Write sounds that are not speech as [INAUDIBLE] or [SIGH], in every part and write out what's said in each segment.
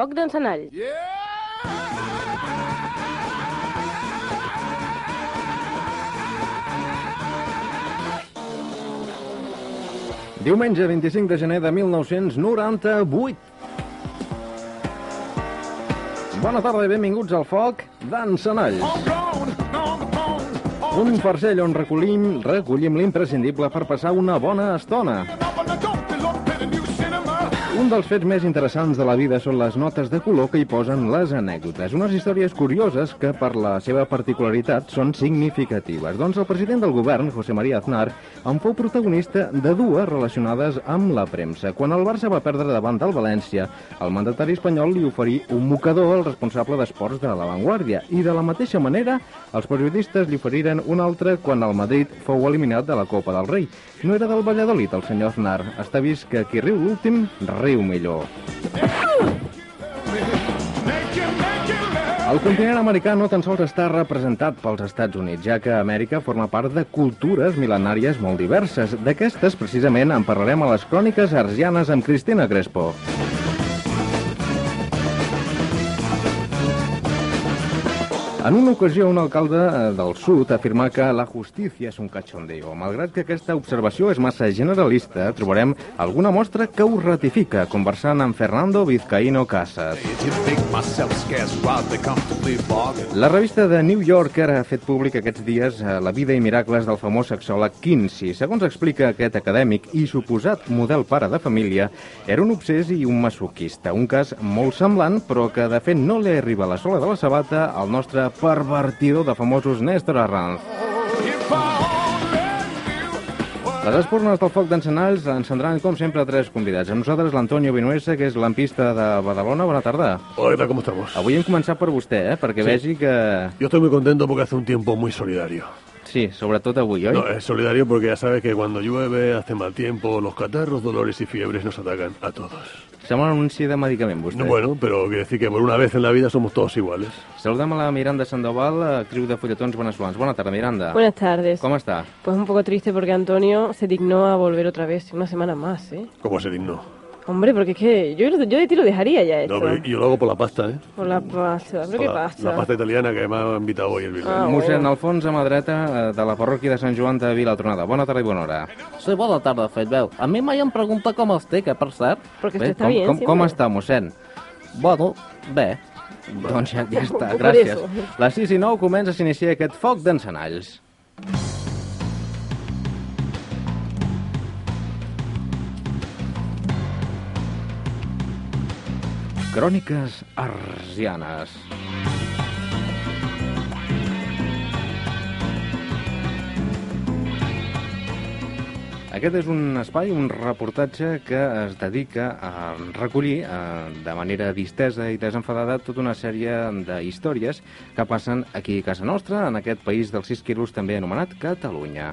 Foc d'encenall. Diumenge 25 de gener de 1998. Bona tarda i benvinguts al Foc d'Encenall. Un farcell on recollim, recollim l'imprescindible per passar una bona estona. Un dels fets més interessants de la vida són les notes de color que hi posen les anècdotes, unes històries curioses que, per la seva particularitat, són significatives. Doncs el president del govern, José María Aznar, en fou protagonista de dues relacionades amb la premsa. Quan el Barça va perdre davant del València, el mandatari espanyol li oferí un mocador al responsable d'esports de la Vanguardia i, de la mateixa manera, els periodistes li oferiren un altre quan el Madrid fou eliminat de la Copa del Rei. No era del Valladolid, el senyor Aznar. Està vist que qui riu l'últim, riu millor. El continent americà no tan sols està representat pels Estats Units, ja que Amèrica forma part de cultures mil·lenàries molt diverses. D'aquestes, precisament, en parlarem a les cròniques arsianes amb Cristina Crespo. En una ocasió, un alcalde eh, del sud afirmà que la justícia és un cachondeo. Malgrat que aquesta observació és massa generalista, trobarem alguna mostra que ho ratifica, conversant amb Fernando Vizcaíno Casas. La revista The New Yorker ha fet públic aquests dies eh, la vida i miracles del famós sexòleg Kinsey. Segons explica aquest acadèmic i suposat model pare de família, era un obsés i un masoquista. Un cas molt semblant, però que de fet no li arriba a la sola de la sabata al nostre pervertidor de famosos Néstor Arranz. Les espurnes del foc d'encenalls encendran, com sempre, tres convidats. Amb nosaltres l'Antonio Vinuesa, que és l'ampista de Badalona. Bona tarda. Hola, ¿qué tal? ¿Cómo estamos? Avui hem començat per vostè, eh? perquè Sí. vegi que... Yo estoy muy contento porque hace un tiempo muy solidario. Sí, sobretot ¿Eh? avui, oi? No, es solidario porque ya sabes que cuando llueve, hace mal tiempo, los catarros, dolores y fiebres nos atacan a todos. Sembla un anunci de medicament, vostè. eh. No, eh. bueno, pero quiere decir que por una vez en la vida somos todos iguales. Saludem a la Miranda Sandoval, actriu de Folletons Venezolans. Bona tarda, Miranda. Buenas tardes. Com està? Pues un poco triste porque Antonio se dignó a volver otra vez una semana más, ¿eh? Como se digno. Hombre, porque es que yo, yo de ti lo dejaría ya esto. No, pero yo lo hago por la pasta, ¿eh? Por la pasta, pero Por ¿qué la, passa? la pasta italiana que me ha invitado hoy el Bilbao. Ah, Mossèn oh. Alfons, a mà dreta, eh, de la parròquia de Sant Joan de Vilatronada. Bona tarda i bona hora. Sí, bona tarda, fet veu. A mi mai em pregunta com estic, eh, per cert. Porque Bé, usted está com, bien com, siempre. com està, mossèn? Bueno, bé. Doncs ja, [LAUGHS] ja està, Per gràcies. eso. Les 6 i 9 comença a s'iniciar aquest foc d'encenalls. Cròniques arsianes. Aquest és un espai, un reportatge que es dedica a recollir eh, de manera distesa i desenfadada tota una sèrie de històries que passen aquí a casa nostra, en aquest país dels 6 quilos també anomenat Catalunya.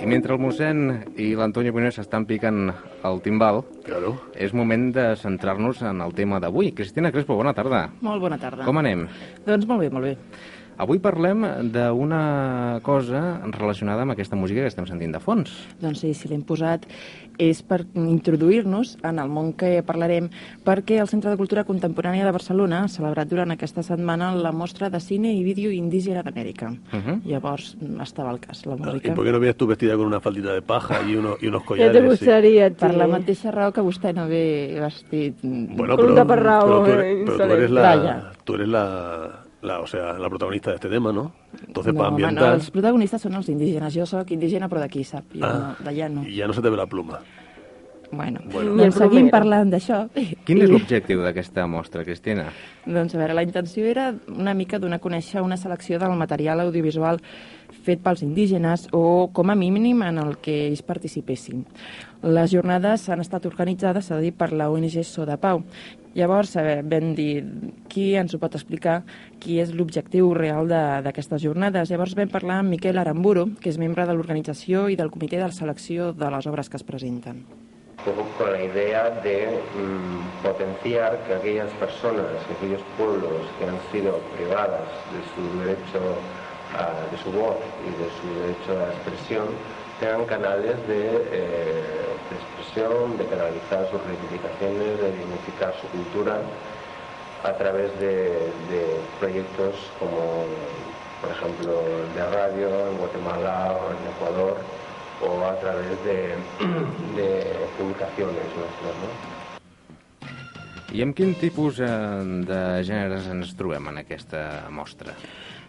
I mentre el mossèn i l'Antonio Bonés estan picant el timbal, Claro. és moment de centrar-nos en el tema d'avui. Cristina Crespo, bona tarda. Molt bona tarda. Com anem? Doncs molt bé, molt bé. Avui parlem d'una cosa relacionada amb aquesta música que estem sentint de fons. Doncs sí, si l'hem posat és per introduir-nos en el món que parlarem, perquè el Centre de Cultura Contemporània de Barcelona ha celebrat durant aquesta setmana la mostra de cine i vídeo indígena d'Amèrica. Uh Mhm. -huh. Llavors mm, estava al cas, la ¿Y música. por qué no vienes tú vestida con una faldita de paja y, uno- y [LAUGHS] unos Ya collares? te sí? gustaría, tío. Per la mateixa raó que vostè no ve vestit... mm, Bueno, Con pero, un taparrabo, pero tú eres, eh, pero tú eres Vaya. la, tú eres la, la- o sea, la protagonista de este tema, ¿no? Entonces, no, para home, ambientar... no, els protagonistes són els indígenes. Jo sóc indígena, però d'aquí, sap? Jo Ah, no, d'allà no. Y ya no se te ve la pluma. Bueno, Bueno. I el doncs seguim plomero. parlant d'això. Quin I- és l'objectiu d'aquesta mostra, Cristina? Doncs a veure, la intenció era una mica donar a conèixer una selecció del material audiovisual fet pels indígenes o com a mínim en el que ells participessin. Les jornades han estat organitzades, s'ha de dir, per la ONG So de Pau. Llavors, eh, vam dir qui ens ho pot explicar, qui és l'objectiu real de- d'aquestes jornades. Llavors vam parlar amb Miquel Aramburo, que és membre de l'organització i del comitè de selecció de les obres que es presenten. Facebook con la idea de mm, potenciar que aquellas personas, aquellos pueblos que han sido privadas de su derecho a- de su voz y de su derecho a la expresión, tengan canales de, eh, de expresión, de canalizar sus reivindicaciones, de dignificar su cultura a través de, de proyectos como, por ejemplo, de radio en Guatemala o en Ecuador, o a través de, [CLEARS THROAT] de publicaciones nuestras, ¿no? I amb quin tipus eh, de gèneres ens trobem en aquesta mostra?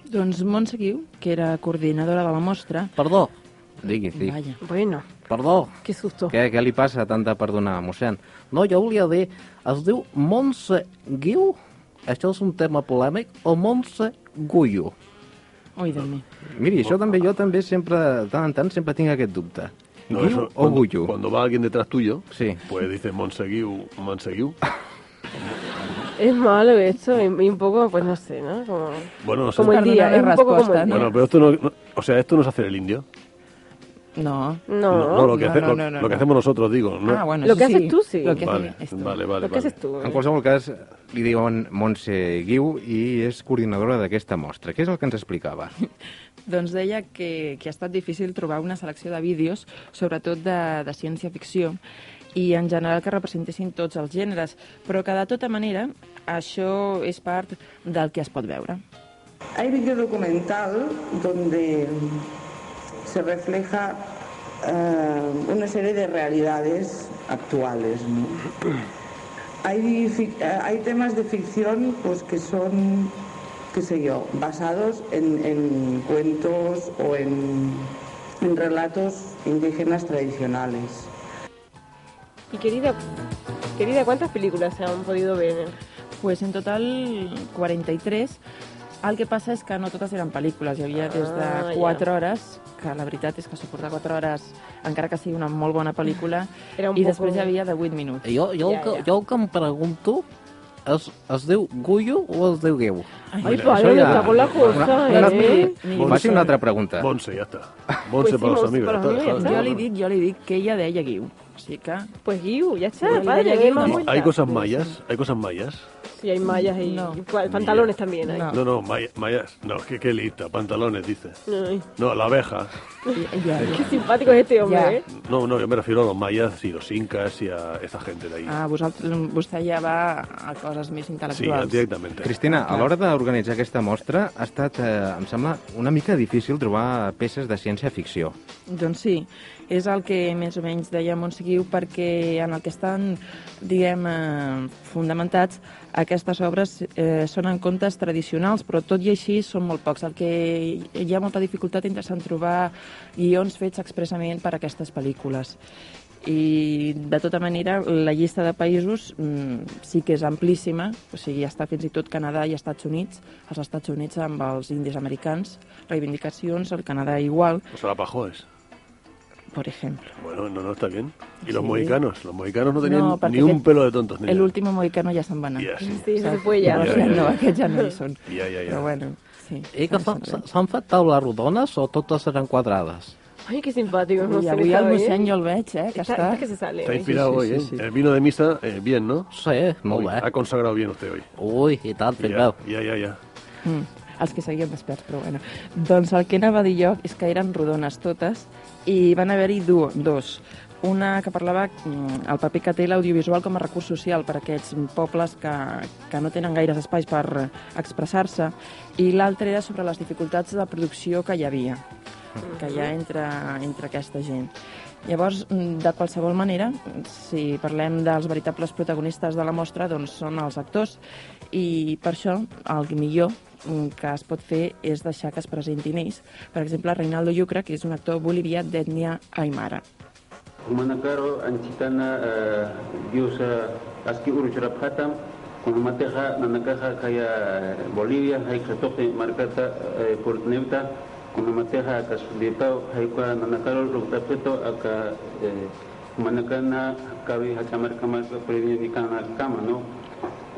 Doncs Montse Guiu, que era coordinadora de la mostra... Perdó. Digui, digui. Vaja. Bueno, Perdó. qué susto. Què, què li passa tant de perdonar, mossèn? No, jo volia dir, es diu Montse Guiu? Això és un tema polèmic? O Montse Guiu? Oi, Déu meu. Miri, això també jo també sempre, de tant en tant, sempre tinc aquest dubte. No, Guiu eso, o cuando, Guyu? cuando va alguien detrás tuyo, Sí. pues dices Monseguiu, [LAUGHS] Monseguiu. Es malo esto y, y un poco, pues no sé, ¿no? Como, Bueno, no sé. como el Para día, darle es un poco como respuesta, el día. Bueno, pero esto no, no- O sea, esto no es hacer el indio. No. No, lo, que No, hace- no, lo- no, no, lo que no. hacemos nosotros, digo. ¿no? Ah, bueno, Lo eso que haces tú, sí. Lo que vale, hace esto. vale, vale, lo que vale. haces tú. eh. En qualsevol cas, li diuen Montse Guiu i és coordinadora d'aquesta mostra. Què és el que ens explicava? Doncs deia que, que ha estat difícil trobar una selecció de vídeos, sobretot de, de ciència-ficció, i en general que representessin tots els gèneres, però que de tota manera això és part del que es pot veure. Hay video documental donde mm, se refleja eh, una serie de realidades actuales. ¿no? Hay, fic- eh, hay temas de ficción pues, que son, qué sé yo, basados en, en cuentos o en- en relatos indígenas tradicionales. Y querida, querida, ¿cuántas películas se han podido ver? Pues en total 43. El que passa és que no totes eren pel·lícules, hi havia des Ah, de ja. 4 hores, que la veritat és que suportar 4 hores, encara que sigui una molt bona pel·lícula, Era un i poco- després hi havia de 8 minuts. Jo, jo, Ja, el, que, ja. jo el que em pregunto es, es diu Guiu o es diu Guiu? Ay, padre, ya- está por la cosa, Una- ¿eh? una- Faci una altra pregunta. Monse, ya [LAUGHS] está. Monse Pues sí, para los Monse amigos. para ya los está, amigos, ¿sabes? Jo li dic, jo li dic que ella deia Guiu. O sigui que... Pues Guiu, ya está, Guiu, ya padre, ¿qué Guiu. más Y vuelta? ¿Hay cosas mayas? ¿Hay cosas mayas? Sí, hay mallas y No. y cual- pantalones también hay. No. No, no, maya- mayas. No, qué, qué lista. Pantalones, dice. Ay, No, la abeja. Ja, ja. qué simpático es este hombre, Ya. ¿eh? No, no, yo me refiero a los mayas y los incas y a esa gente de ahí. Ah, vosaltres, vostè ja va a coses més sí, intel·lectuals. directamente. Cristina, a l'hora d'organitzar aquesta mostra ha estat, eh, em sembla, una mica difícil trobar peces de ciència-ficció. Doncs sí, és el que més o menys deia Montseguiu perquè en el que estan, diguem, eh, fundamentats aquestes obres eh, són en contes tradicionals, però tot i així són molt pocs. El que hi ha molta dificultat és en trobar guions fets expressament per a aquestes pel·lícules. I, de tota manera, la llista de països mm, sí que és amplíssima, o sigui, està fins i tot Canadà i Estats Units, els Estats Units amb els indis americans, reivindicacions, el Canadá igual, Los arapajoes. per exemple. Bueno, no, no, está bien. ¿Y los Sí. mohicanos? Los mohicanos no tenían No, ni porque un que- pelo de tontos. Ni El nada. último mohicano ja se'n va anar. Ya, sí. Sí, se fue ya. Llavors Ja, ja, ja, ja. no, aquests ja no hi són. Ya, ya, ya. Però bueno, sí. I que s'han- s'han fet taules rodones o totes eren quadrades? Ay, qué simpático. no I sé, ¿eh? avui está el bien. mossèn jo el veig, eh, Está- que està... está que se sale. Está hoy. inspirado sí, hoy, ¿eh? sí, sí. El vino de misa, eh, bien, ¿no? Sí, molt Uy, Ha bé. consagrado bien usted hoy. Ui, i tant, fill Ya, meu. ya, ya, ya. Mm, els que seguien desperts, però bueno. Doncs el que anava a dir jo és que eren rodones totes i van haver-hi du- dos. Una que parlava mm, el paper que té l'audiovisual com a recurs social per a aquests pobles que, que no tenen gaires espais per expressar-se i l'altra era sobre les dificultats de producció que hi havia, que hi ha entre, entre aquesta gent. Llavors, mm, de qualsevol manera, si parlem dels veritables protagonistes de la mostra, doncs són els actors i per això el millor mm, que es pot fer és deixar que es presentin ells. Per exemple, Reinaldo Yucra, que és un actor bolivià d'ètnia aimara. Humanakaro anchitana eh, diosa aski uruchuraphatam kunumateja nanakaja kaya Bolivia haikatoje markata eh, purtneuta kunumateja akasudipao haikua nanakaro ruktapeto aka eh, humanakana kavi hachamarkamarka previanikana kama no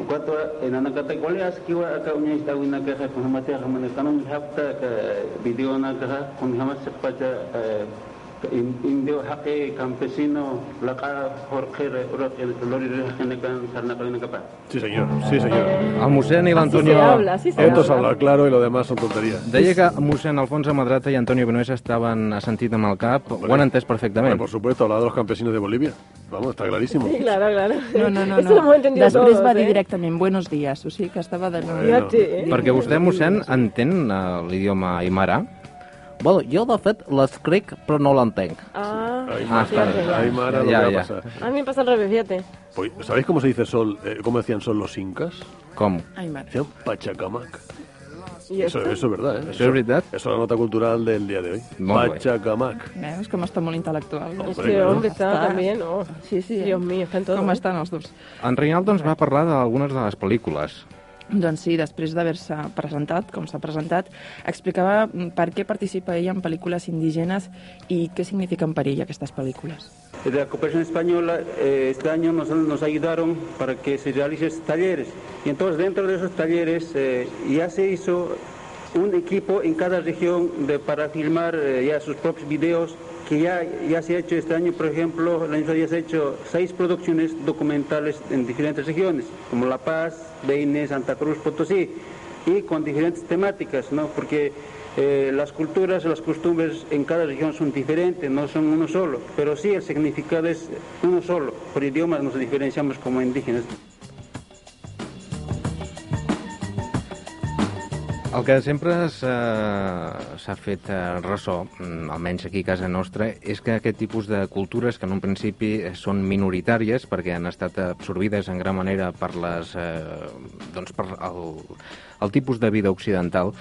Cuatro en anacata coleas que iba acá una esta una caja con la materia manecano mi hafta que video una caja con jamás se pacha eh, In- indio eh, haqi campesino laqa jorge urak lori rejenekan sarnakalinakapa. Sí, señor. Sí, señor. El mossèn i l'Antonio... se habla, así se Esto es habla. hablar claro y lo demás son tonterías. Deia que mossèn Alfonso Madrata i Antonio Vinuesa estaven assentit amb el cap. Ho han entès Bueno, perfectament. por supuesto, hablar de los campesinos de Bolivia. Vamos, está clarísimo. Sí, claro, claro. No, [LAUGHS] no, no. Eso lo no. hemos entendido Després todos, va ¿eh? dir directament buenos días, o sigui que estava de... Bueno. Fíjate, ¿eh? Perquè vostè, mossèn, entén eh, l'idioma aimara. Bueno, jo de fet l'escric però no l'entenc. Ah, Aymara, está bien. Aymara, lo Ya, que va a ya. pasar. a mí me pasa al revés, fíjate. Pues, ¿Sabéis cómo se dice sol? eh, ¿Cómo decían sol los incas? Com? Ai, mare. Decían pachacamac. ¿Y Eso, esto? eso es verdad, ¿eh? Això és veritat? Eso es la nota cultural del día de hoy. Muy bien. Pachacamac. Veus com està molt intel·lectual. Este hombre está Está. también, oh. Sí, sí. Dios mío, está en todo. Com ¿eh? estan els dos? En Reinaldo ens va parlar d'algunes de les pel·lícules. Doncs sí, després d'haver-se presentat, com s'ha presentat, explicava mm, per què participa ella en pel·lícules indígenes i què signifiquen per ella aquestes pel·lícules. La cooperación española eh, este año nos, nos ayudaron para que se realicen talleres. Y entonces dentro de esos talleres eh, ya se hizo un equipo en cada región de- para filmar eh, ya sus propios videos que ya, ya se ha hecho este año, por ejemplo, el año pasado ya se ha hecho seis producciones documentales en diferentes regiones, como La Paz, Beines, Santa Cruz, Potosí, y con diferentes temáticas, ¿no? Porque eh, las culturas, las costumbres en cada región son diferentes, no son uno solo, pero sí el significado es uno solo. Por idiomas nos diferenciamos como indígenas. El que sempre s', eh, s'ha fet eh, ressò, mm, almenys aquí a casa nostra, és que aquest tipus de cultures, que en un principi eh, són minoritàries perquè han estat absorbides en gran manera per, les, eh, doncs per el, el tipus de vida occidental,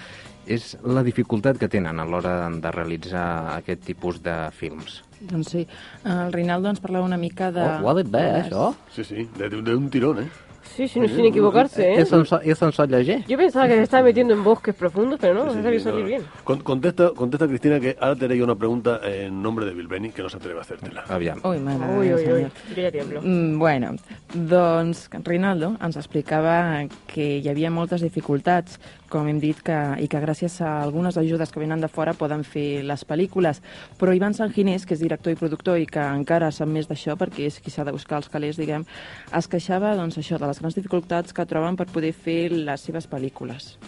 és la dificultat que tenen a l'hora de realitzar aquest tipus de films. Doncs sí, el Rinaldo ens parlava una mica de... Oh, ho ha dit bé, eh, això? Sí, sí, de, de un tirón, ¿eh? Sí, sin, sin equivocarse, ¿eh? És en, so, és en so llegir. Yo pensaba que se estaba metiendo en bosques profundos, pero no, se Sí, sí, salió no, Oh, salir no. bien. Con- contesta, contesta, Cristina, que ahora te haré yo una pregunta en nombre de Bilbeni que no se atreve a hacértela. Aviam. Ui, mare de Uy, Déu, uy, uy. senyor. Yo ya tiemblo. Mm, bueno, doncs Rinaldo ens explicava que hi havia moltes dificultats, com hem dit, que, i que gràcies a algunes ajudes que venen de fora poden fer les pel·lícules. Però Ivan Sanginés, que és director i productor i que encara sap més d'això perquè és qui s'ha de buscar els calés, diguem, es queixava doncs, això, de les grans dificultats que troben per poder fer les seves pel·lícules.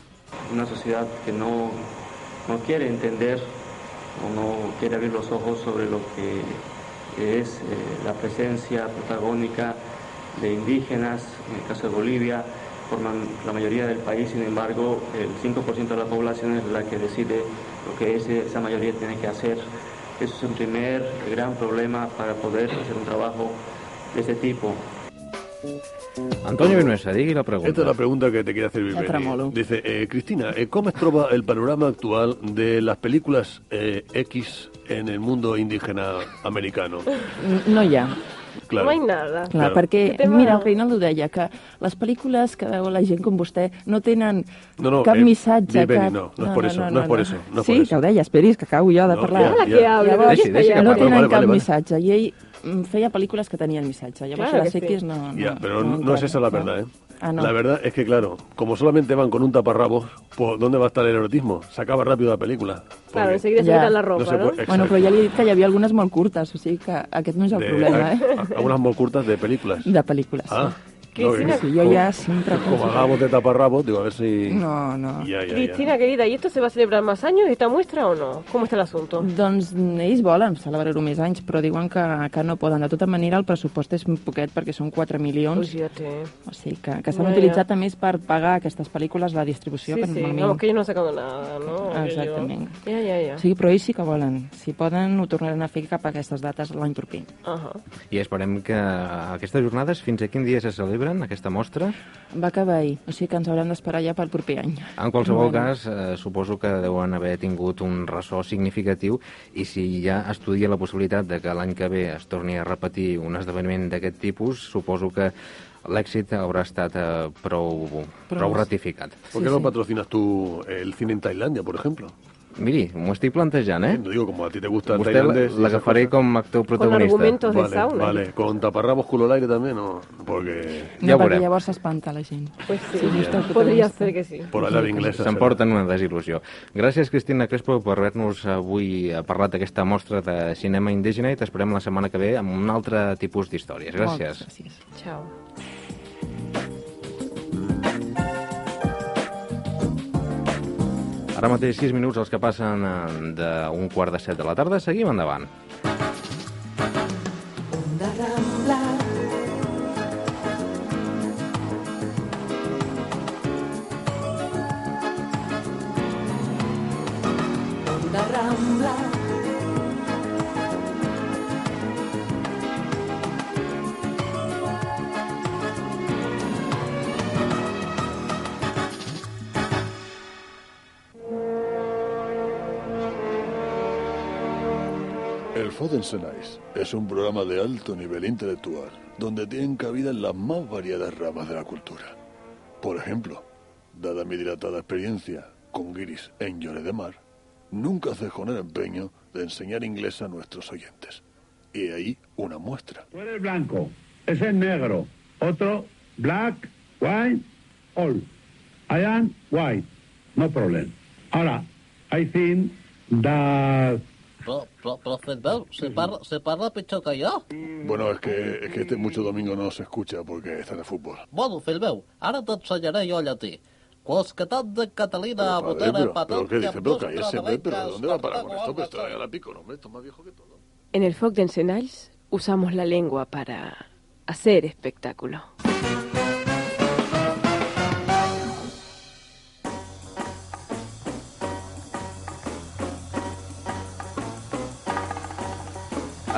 una sociedad que no, no quiere entender o no quiere abrir los ojos sobre lo que es eh, la presencia protagónica de indígenas, en el caso de Bolivia, forman la mayoría del país, sin embargo, el 5% de la población es la que decide lo que ese- esa mayoría tiene que hacer. Eso es un primer gran problema para poder hacer un trabajo de este tipo. Antonio Vinuesa, digui la Esta es la pregunta. pregunta que te quiere hacer Bilbeni. tramolo. Dice, eh, Cristina, eh, ¿cómo estroba el panorama actual de las películas eh, X en el mundo indígena [LAUGHS] americano? N- No hi ha. Claro. No hay nada. Clar, Claro. perquè, Aquest tema- mira, el Reinaldo deia que les pel·lícules que veu la gent com vostè no tenen No, no, cap eh, missatge, Viveni, cap... no, no és por eso, no és por eso, no és sí, por eso. que ho deia, esperis, que acabo jo de No, parlar. ja, Ahora que hablo, que Llavors- Deixi, deixi callar. que No parli. tenen Vale, vale, cap vale. missatge, i ell mm, feia pel·lícules que tenien missatge, llavors Claro les que sí. X no... no Ya, pero no, entraven, es esa la clar. verdad, ¿eh? Ah, no. La verdad es que, claro, como solamente van con un taparrabos, pues ¿dónde va a estar el erotismo? Se acaba rápido la película. Claro, Porque enseguida se Ya. quitan la No ropa, se ¿no? puede- Bueno, però Exacte. ja li he dit que hi havia algunes molt curtes, o sigui que aquest no és el de- problema, eh? a- a unas muy curtas de películas. De pel·lícules. Ah, Cristina- que- Sí, yo ya siempre Como pienso- hagamos de taparrabos, digo, a ver si... No, no. Ya, ya, ya. Cristina, querida, ¿y esto se va a celebrar más años esta muestra o no? ¿Cómo está el asunto? Doncs mm, ells volen celebrar-ho més anys, però diuen que, que no poden. De tota manera, el pressupost és un poquet perquè són 4 milions. Fíjate. O sigui que, que s'han Ja, ja. utilitzat a més per pagar aquestes pel·lícules la distribució Sí, que sí, normalment... vamos, que ellos no han sacado nada, ¿no? Ah, Aquello. exactament. Ya, ya, ya. O sigui, però ells sí que volen. Si poden, ho tornaran a fer cap a aquestes dates l'any proper. Ajá. I esperem que aquestes jornades, fins a quin dia se celebren, aquesta mostra? Va acabar ahir, o sigui que ens haurem d'esperar ja pel proper any. En qualsevol cas, eh, suposo que deuen haver tingut un ressò significatiu i si ja estudia la possibilitat de que l'any que ve es torni a repetir un esdeveniment d'aquest tipus, suposo que l'èxit haurà estat eh, prou, prou ratificat. ¿Por qué no patrocinas tú el cine en Tailandia, por ejemplo? Miri, m'ho estic plantejant, eh? Digo, como a ti te gusta Vostè la- Tailandes... l'agafaré com a actor protagonista. argumento. Entonces, Vale, sauna. vale. Con taparrabos culo al aire también, ¿no? Porque Ja ho No, perquè veurem. llavors s'espanta la gent. Pues sí, Sí, está podría protagonista. ser que sí. por hablar inglés... S'emporten una desil·lusió. Gràcies, Cristina Crespo, per haver-nos avui eh, parlat d'aquesta mostra de cinema indígena i t'esperem la setmana que ve amb un altre tipus d'històries. Gràcies. Moltes gràcies. Chao. Ara mateix 6 minuts els que passen eh, d'un quart de set de la tarda. Seguim endavant. El Foden Senais es un programa de alto nivel intelectual donde tienen cabida las más variadas ramas de la cultura. Por ejemplo, dada mi dilatada experiencia con guiris en Llore de Mar, nunca cejo en el empeño de enseñar inglés a nuestros oyentes. Y ahí una muestra. Tú eres blanco, ese es negro, otro black, white, all. I am white, no problem. Ahora, I think that Però, però, però Fedbel, se parla, se parla pitjor que jo. Bueno, es que, es que este mucho domingo no se escucha porque está de fútbol. Bueno, Fedbel, ara t'ensenyaré jo llatí. Quoscatat de Catalina Pero, a pues padre, botera pero, pero, patat ¿qué dice? Pero ambdós cállese, hombre, pero ¿de travencas, dónde va a parar con esto? eh? Cartago, Pero está Alba, a la pico, no, hombre, esto es más viejo que todo. En el Foc de Encenalls usamos la lengua para hacer espectáculo.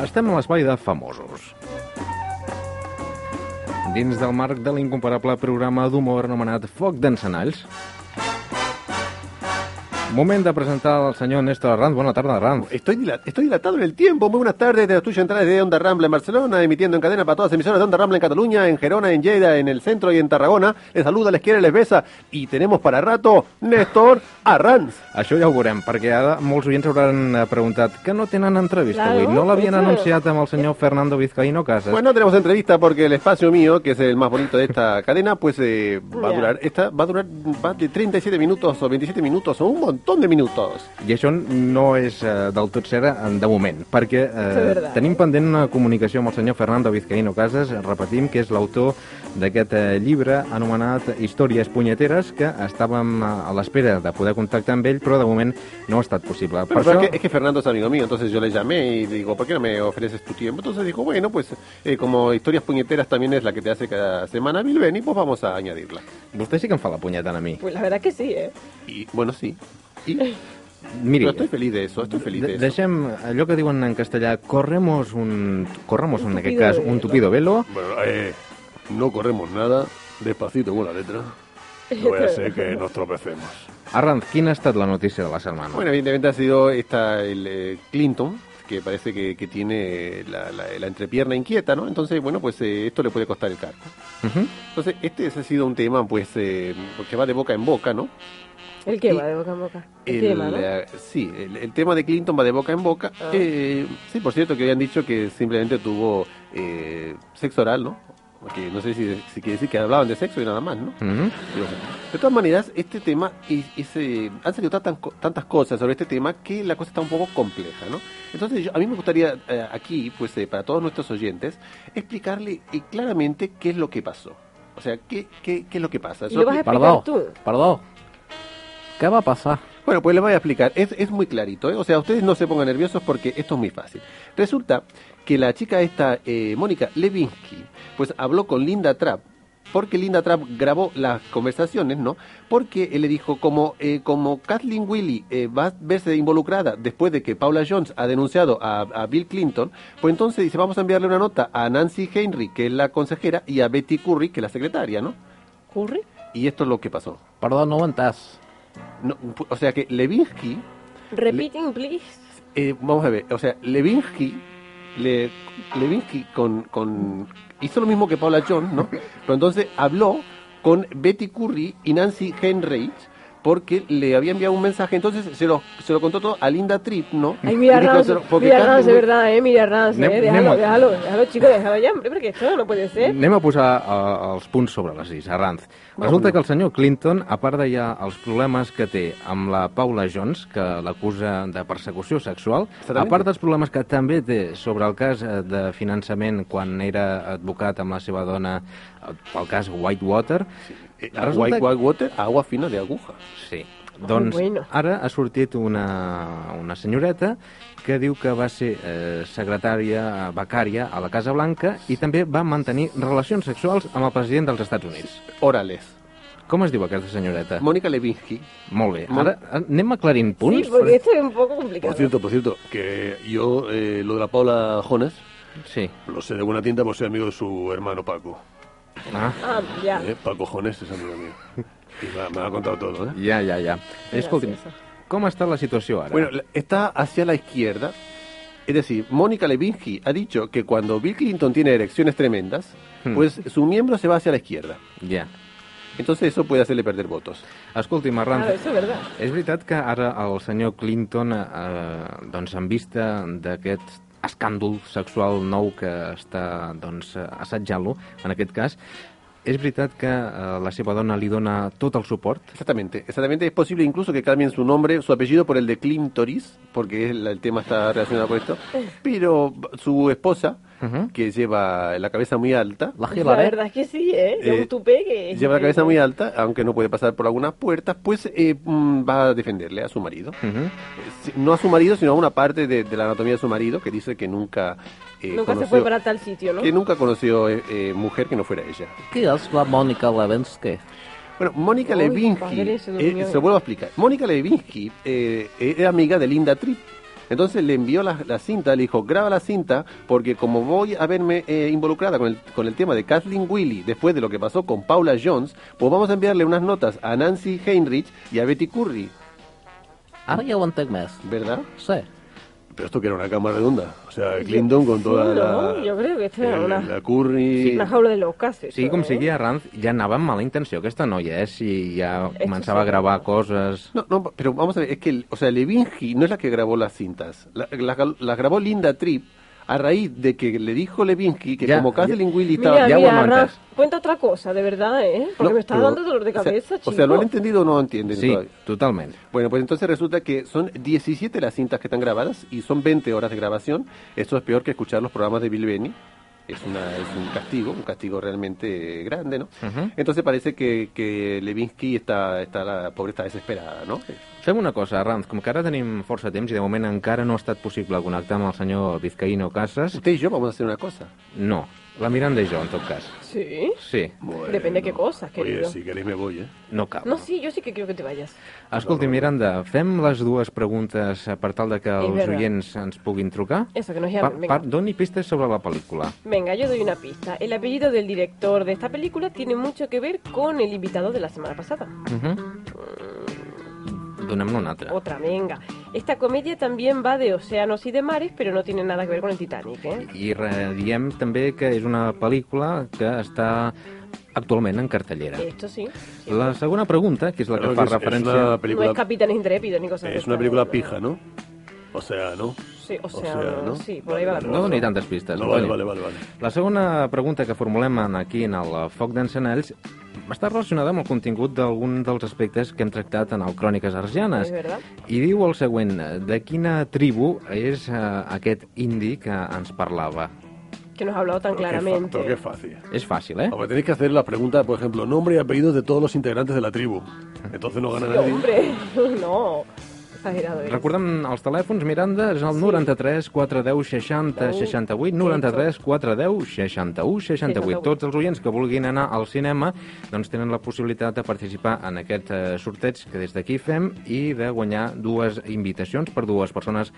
Estem a l'espai de famosos. Dins del marc de l'incomparable programa d'humor anomenat Foc d'Encenalls. Moment de presentar el senyor Néstor Arranz. Bona tarda, Arranz. Estoy, dila- estoy dilatado en el tiempo. Muy buenas tardes de la tuya entrada de Onda Rambla en Barcelona, emitiendo en cadena para todas las emisoras de Onda Rambla en Cataluña, en Gerona, en Lleida, en el centro y en Tarragona. Les saluda, les quiere, les besa. Y tenemos para rato Néstor Arranz. Això ja ho veurem, perquè ara molts oients hauran eh, preguntat que no tenen entrevista Claro, avui. No l'havien eso. anunciat amb el senyor Fernando Vizcaíno Casas. Pues no tenemos entrevista porque el espacio mío, que es el más bonito de esta cadena, pues eh, va a Ya. durar, esta va a durar más de 37 minutos o 27 minutos o un montón de minutos. I això no és eh, del tot cert eh, de moment, perquè És eh, verdad. tenim pendent una comunicació amb el senyor Fernando Vizcaíno Casas, repetim que és l'autor d'aquest eh, llibre anomenat Històries punyeteres, que estàvem eh, a l'espera de poder contactar amb ell, però de moment no ha estat possible. per Pero, pero això... es, que, es que Fernando es amigo mío, entonces yo le llamé y digo, ¿por qué no me ofreces tu tiempo? Entonces dijo, bueno, pues eh, como Historias Puñeteras también es la que te hace cada semana Bill Benny, pues vamos a añadirla. Vostè sí que em fa la punyeta a mi. Pues la verdad que sí, ¿eh? Y bueno, sí. Y, Miri, pero estoy feliz de eso, estoy feliz de de eso. deixem allò que diuen en castellà, corremos un... Corremos, en tupido aquest cas, velo. un tupido velo. Bueno, eh, no corremos nada, despacito con la letra. No voy a ser que nos tropecemos. Arranz, quina ha estat la notícia de la setmana? Bueno, evidentemente ha sido esta el eh, Clinton, que parece que, que tiene eh, la, la- la entrepierna inquieta, ¿no? Entonces, bueno, pues eh, esto le puede costar el cargo. Ujú. Entonces, este ha sido un tema, pues, eh, que va de boca en boca, ¿no? El que Y va de boca en boca. El, El, tema, ¿no? eh, sí, el, el tema de Clinton va de boca en boca. Ah. Eh, sí, por cierto, que habían dicho que simplemente tuvo eh, sexo oral, ¿no? Que no sé si, si quiere decir que hablaban de sexo y nada más, ¿no? Mhm. Digo, De todas maneras, este tema, y, y se- han salido tantas, co- tantas cosas sobre este tema que la cosa está un poco compleja, ¿no? Entonces, yo- a mí me gustaría eh, aquí, pues eh, para todos nuestros oyentes, explicarle eh, claramente qué es lo que pasó. O sea, qué, qué, qué es lo que pasa. Y Yo- lo vas a explicar tú. Perdó. Què va passar? bueno, pues les voy a explicar. Es, es muy clarito, ¿eh? O sea, ustedes no se pongan nerviosos porque esto es muy fácil. Resulta que la chica esta, eh, Mónica Levinsky, pues habló con Linda Trapp. Porque Linda Trapp grabó las conversaciones, ¿no? Porque él le dijo, como, eh, como Kathleen Willy eh, va a verse involucrada después de que Paula Jones ha denunciado a, a Bill Clinton, pues entonces dice, vamos a enviarle una nota a Nancy Henry, que es la consejera, y a Betty Curry, que es la secretaria, ¿no? ¿Curry? Y esto es lo que pasó. Perdó, no ho entès. No, o sea que Levinsky Repeating, please. Eh, vamos a ver, o sea, Levinsky, le- Levinsky con, con- hizo lo mismo que Paula Jones, ¿no? Pero entonces habló con Betty Curry y Nancy Henrich porque le había enviado un mensaje, entonces se lo, se lo contó todo a Linda Tripp, ¿no? Ay, mira Dijo, Rance, se lo- porque mira Carmen Rance, de Wi- verdad, eh, mira Rance, Anem- eh, déjalo, anem a- déjalo, déjalo, chico, déjalo ya, hombre, porque esto no puede Mm, ser. Anem a posar eh, els punts sobre les is, Arranz. Resulta que el senyor Clinton, a part de ja els problemes que té amb la Paula Jones, que l'acusa de persecució sexual, a Exactament. part dels problemes que també té sobre el cas eh, de finançament quan era advocat amb la seva dona eh, pel cas Whitewater, Eh, resulta White, que- White Water, agua fina de aguja. Sí. Doncs bueno. ara ha sortit una, una senyoreta que diu que va ser eh, secretària becària a la Casa Blanca i també va mantenir relacions sexuals amb el president dels Estats Units. Orales. Com es diu aquesta senyoreta? Mónica Levinsky. Molt bé. Molt- Ara anem aclarint Sí, punts. eh. porque esto es un poco complicado. Por cierto, por cierto, que yo eh, lo de la Paula Jones Sí. lo sé de buena tinta por ser amigo de su hermano Paco. Ah, Ah, ya. ¿eh? Paco Jones es amigo mío. Y me, ha- me ha contado todo, ¿eh? ja, ja, ja. Escolti'm, com està la situació ara? Bueno, la- está hacia la izquierda. Es decir, Mónica Levinsky ha dicho que cuando Bill Clinton tiene erecciones tremendas, Hmm. pues su miembro se va hacia la izquierda. Ja. Entonces eso puede hacerle perder votos. Escolti'm, Arran, Claro, Ah, eso es verdad. És veritat que ara el senyor Clinton, eh, doncs en vista d'aquest escàndol sexual nou que està doncs, eh, assetjant-lo, en aquest cas, és veritat que eh, la seva dona li dona tot el suport? Exactamente, exactamente. Es posible incluso que cambien su nombre, su apellido por el de Clintoris, porque el, el tema está relacionado con esto. Pero su esposa, Ujú. que lleva la cabeza muy alta, La verdad es que sí, ¿eh? [LAUGHS] Es Eh, un tupé que... lleva la cabeza muy alta, aunque no puede pasar por algunas puertas, pues eh, mm, va a defenderle a su marido. Eh, Mhm. Sí, no a su marido, sino a una parte de, de la anatomía de su marido que dice que nunca, eh, Nunca se conoció- fue para tal sitio, ¿no? que nunca conoció eh, eh, mujer que no fuera ella. Qui és la Mònica Levinsky? Bueno, Mónica Uy, Levinsky, padre, se eh, durmió. se vuelvo a explicar. Mónica Levinsky eh, eh, era amiga de Linda Tripp. Entonces le envió la, la cinta, le dijo, graba la cinta, porque como voy a verme eh, involucrada con el, con el tema de Kathleen Willy después de lo que pasó con Paula Jones, pues vamos a enviarle unas notas a Nancy Heinrich y a Betty Curry, Ara Ah, ja ho entenc més. ¿verdad? Sí. Pero esto que era una cama redonda. O sea, Clinton con Sí, toda ¿no? la... Yo creo que esto eh, era una, La Curry... una jaula de locas. eso, Sigui com ¿eh? sigui, Arranz ja anava amb mala intenció aquesta noia, eh? Si ja començava a gravar coses... No, no, pero vamos a ver, es que, el- o sea, Levinsky no es la que grabó las cintas. La- Las las grabó Linda Tripp a raíz de que le dijo Levinsky que Ya, como ya. Kathleen Willy estaba... Mira, Ya mira, aguantas. Raf, cuenta otra cosa, de verdad, ¿eh? Porque No, me está pero- dando dolor de o sea, cabeza, chico. O sea, ¿lo han entendido o no lo entienden Sí, todavía? totalment. Bueno, pues entonces resulta que son 17 las cintas que están grabadas y son 20 horas de grabación. Esto es peor que escuchar los programas de Bill Benny. Es, una, es un castigo, un castigo realmente eh, grande, ¿no? Ujú. Entonces parece que, que Levinsky está, está, la pobre está desesperada, ¿no? Fem una cosa, Arranz, com que ara tenim força temps i de moment encara no ha estat possible connectar amb el senyor Vizcaíno Casas, Usted y yo vamos a hacer una cosa. no, la Miranda i jo, en tot cas. Sí. Sí, Bueno. Depende de qué cosas, Oye, querido. si queréis me voy, ¿eh? no cal. No, sí, yo sí que quiero que te vayas. Escolti, Miranda, fem les dues preguntes eh, per tal de que Sí, els verdad. oients ens puguin trucar. Eso, que nos Pa, llamen, venga. pa, doni pistes sobre la pel·lícula. Venga, yo doy una pista. El apellido del director de esta película tiene mucho que ver con el invitado de la semana pasada. Uh Mhm. -huh. Mm. Donem-ne una altra. Otra, venga. Esta comedia también va de océanos y de mares, pero no tiene nada que ver con el Titanic, ¿eh? I re, diem també que és una pel·lícula que està actualment en cartellera. Esto sí. sí. La segona pregunta, que és la que Perdón, que fa es, es una referència... No es película... Capitán Intrépido ni cosas de Es una estas, película no, pija, ¿no? O sea, ¿no? Sí, o sea, ¿no? sí, por ahí va la Vale, vale, cosa. No vale. ni tantes pistes. No, vale, Antonio. vale, vale, vale. La segona pregunta que formulem en- aquí en el Foc d'Encenalls està relacionada amb el contingut d'algun dels aspectes que hem tractat en el Cròniques Argianes. És veritat. I diu el següent, de quina tribu és eh, aquest indi que ens parlava? Que nos ha hablado tan Pero qué fa- claramente. Pero qué fácil. És fàcil, eh? Ahora tenéis que hacer la pregunta, por ejemplo, nombre y apellidos de todos los integrantes de la tribu. Entonces no gana Sí, nadie. hombre, [LAUGHS] no. Exagerado. eres. Recordem els telèfons, Miranda, és el 93 410 60 68, 93 410 61 68. Tots els oients que vulguin anar al cinema doncs tenen la possibilitat de participar en aquest eh, sorteig que des d'aquí fem i de guanyar dues invitacions per dues persones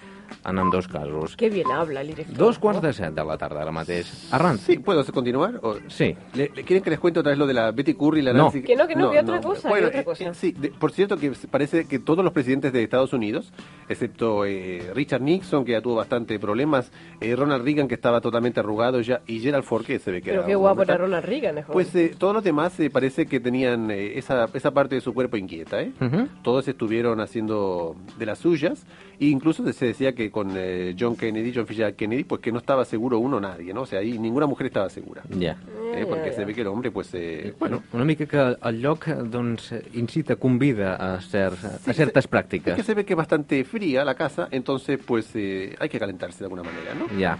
en ambdós casos. Qué bien habla el director. Dos quarts de set de la tarda ara mateix. Arranz, Sí, ¿puedo continuar? O- sí. ¿Le, le quieren que les cuente otra vez lo de la Betty Curry y la No. Nancy? Que no, que no, que otra cosa, que Bueno, otra eh, cosa. eh, sí, de- por cierto que parece que todos los presidentes de Estados Unidos, excepto eh, Richard Nixon, que ya tuvo bastante problemas, eh, Ronald Reagan, que estaba totalmente arrugado ya, y Gerald Ford, que se ve que Pero era qué un guapo hombre era tan- Ronald Reagan, es joven. Pues eh, todos los demás eh, parece que tenían eh, esa, esa parte de su cuerpo inquieta, ¿eh? Ujú. Todos estuvieron haciendo de las suyas, e incluso se decía que con eh, John Kennedy, John Fisher Kennedy, pues que no estaba seguro uno nadie, ¿no? O sea, ahí ninguna mujer estaba segura. Ja. ¿eh? Ya, Porque ya, se ve que el hombre, pues, eh, bueno, Bueno, una mica que el lloc doncs, incita, convida a, certs, a certes es que pràctiques. se ve que es bastante fría la casa, entonces, pues, eh, hay que calentarse de alguna manera, ¿no? Ja.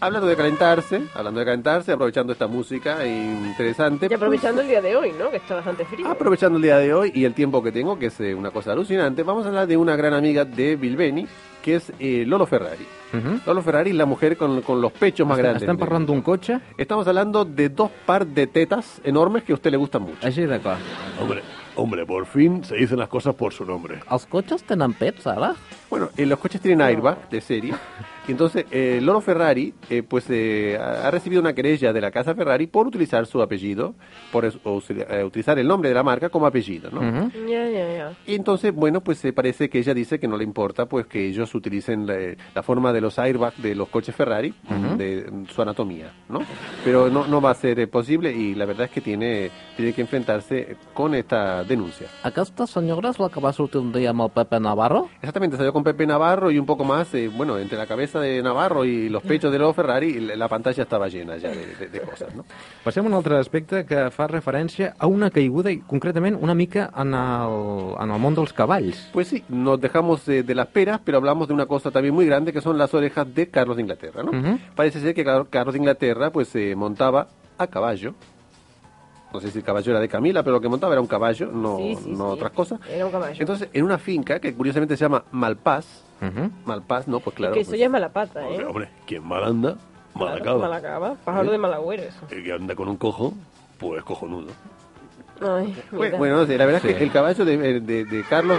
Hablando de calentarse, hablando de calentarse, aprovechando esta música interesante. eh, Y pues, aprovechando el día de hoy, ¿no? Que está bastante Ah, frío. Aprovechando el día de hoy y el tiempo que tengo, que es eh, una cosa alucinante, vamos a hablar de una gran amiga de Bilbeni, que es eh, Lolo Ferrari. Mhm. Lolo Ferrari, la mujer con, con los pechos más Estan, grandes. estan parlant d'un cotxe? Estamos hablando de dos par de tetas enormes que a usted le gustan mucho. Així d'acord. Hombre, hombre, por fin se dicen las cosas por su nombre. Els cotxes tenen pets, ara? Bueno, eh, los coches tienen airbag de serie. Y entonces, eh, Lolo Ferrari, eh, pues, eh, ha ha recibido una querella de la casa Ferrari por utilizar su apellido, por es- o sea, eh, utilizar el nombre de la marca como apellido, ¿no? Mhm. Ya, ya, ya. Y entonces, bueno, pues se parece que ella dice que no le importa pues que ellos utilicen la, la forma de los airbags de los coches Ferrari, de mm, su anatomía, ¿no? Pero no, no va a ser eh, posible y la verdad es que tiene, tiene que enfrentarse con esta denuncia. Aquesta senyora és la que va sortir un dia amb el Pepe Navarro? Exactamente, salió con Pepe Navarro y un poco más, eh, bueno, entre la cabeza de Navarro y los pechos de los Ferrari, la la pantalla estaba llena ya de, de- de cosas, ¿no? Passem a un altre aspecte que fa referència a una caiguda i concretament una mica en el, en el món dels cavalls. Pues sí, nos dejamos eh, de las peras, pero hablamos de una cosa también muy grande que son las orejas de Carlos de Inglaterra, ¿no? Ujú. Parece ser que Car- Carlos de Inglaterra pues se montaba a caballo. No sé si el caballo era de Camila, pero lo que montaba era un caballo, no, Sí, sí, no sí. otras cosas. Era un caballo. Entonces, en una finca que curiosamente se llama Malpaz, Mhm. Malpaz, no, pues claro. que pues, eso ya es mala pata, ¿eh? Hombre, hombre, quien mal anda, mal Claro, acaba. Malacaba, ¿Eh? pájaro de malagüero, eso. El que anda con un cojo, pues cojonudo. Ay, Bueno, mira. Pues, bueno, no sé, la verdad es Sí. que el caballo de, eh, de- de Carlos.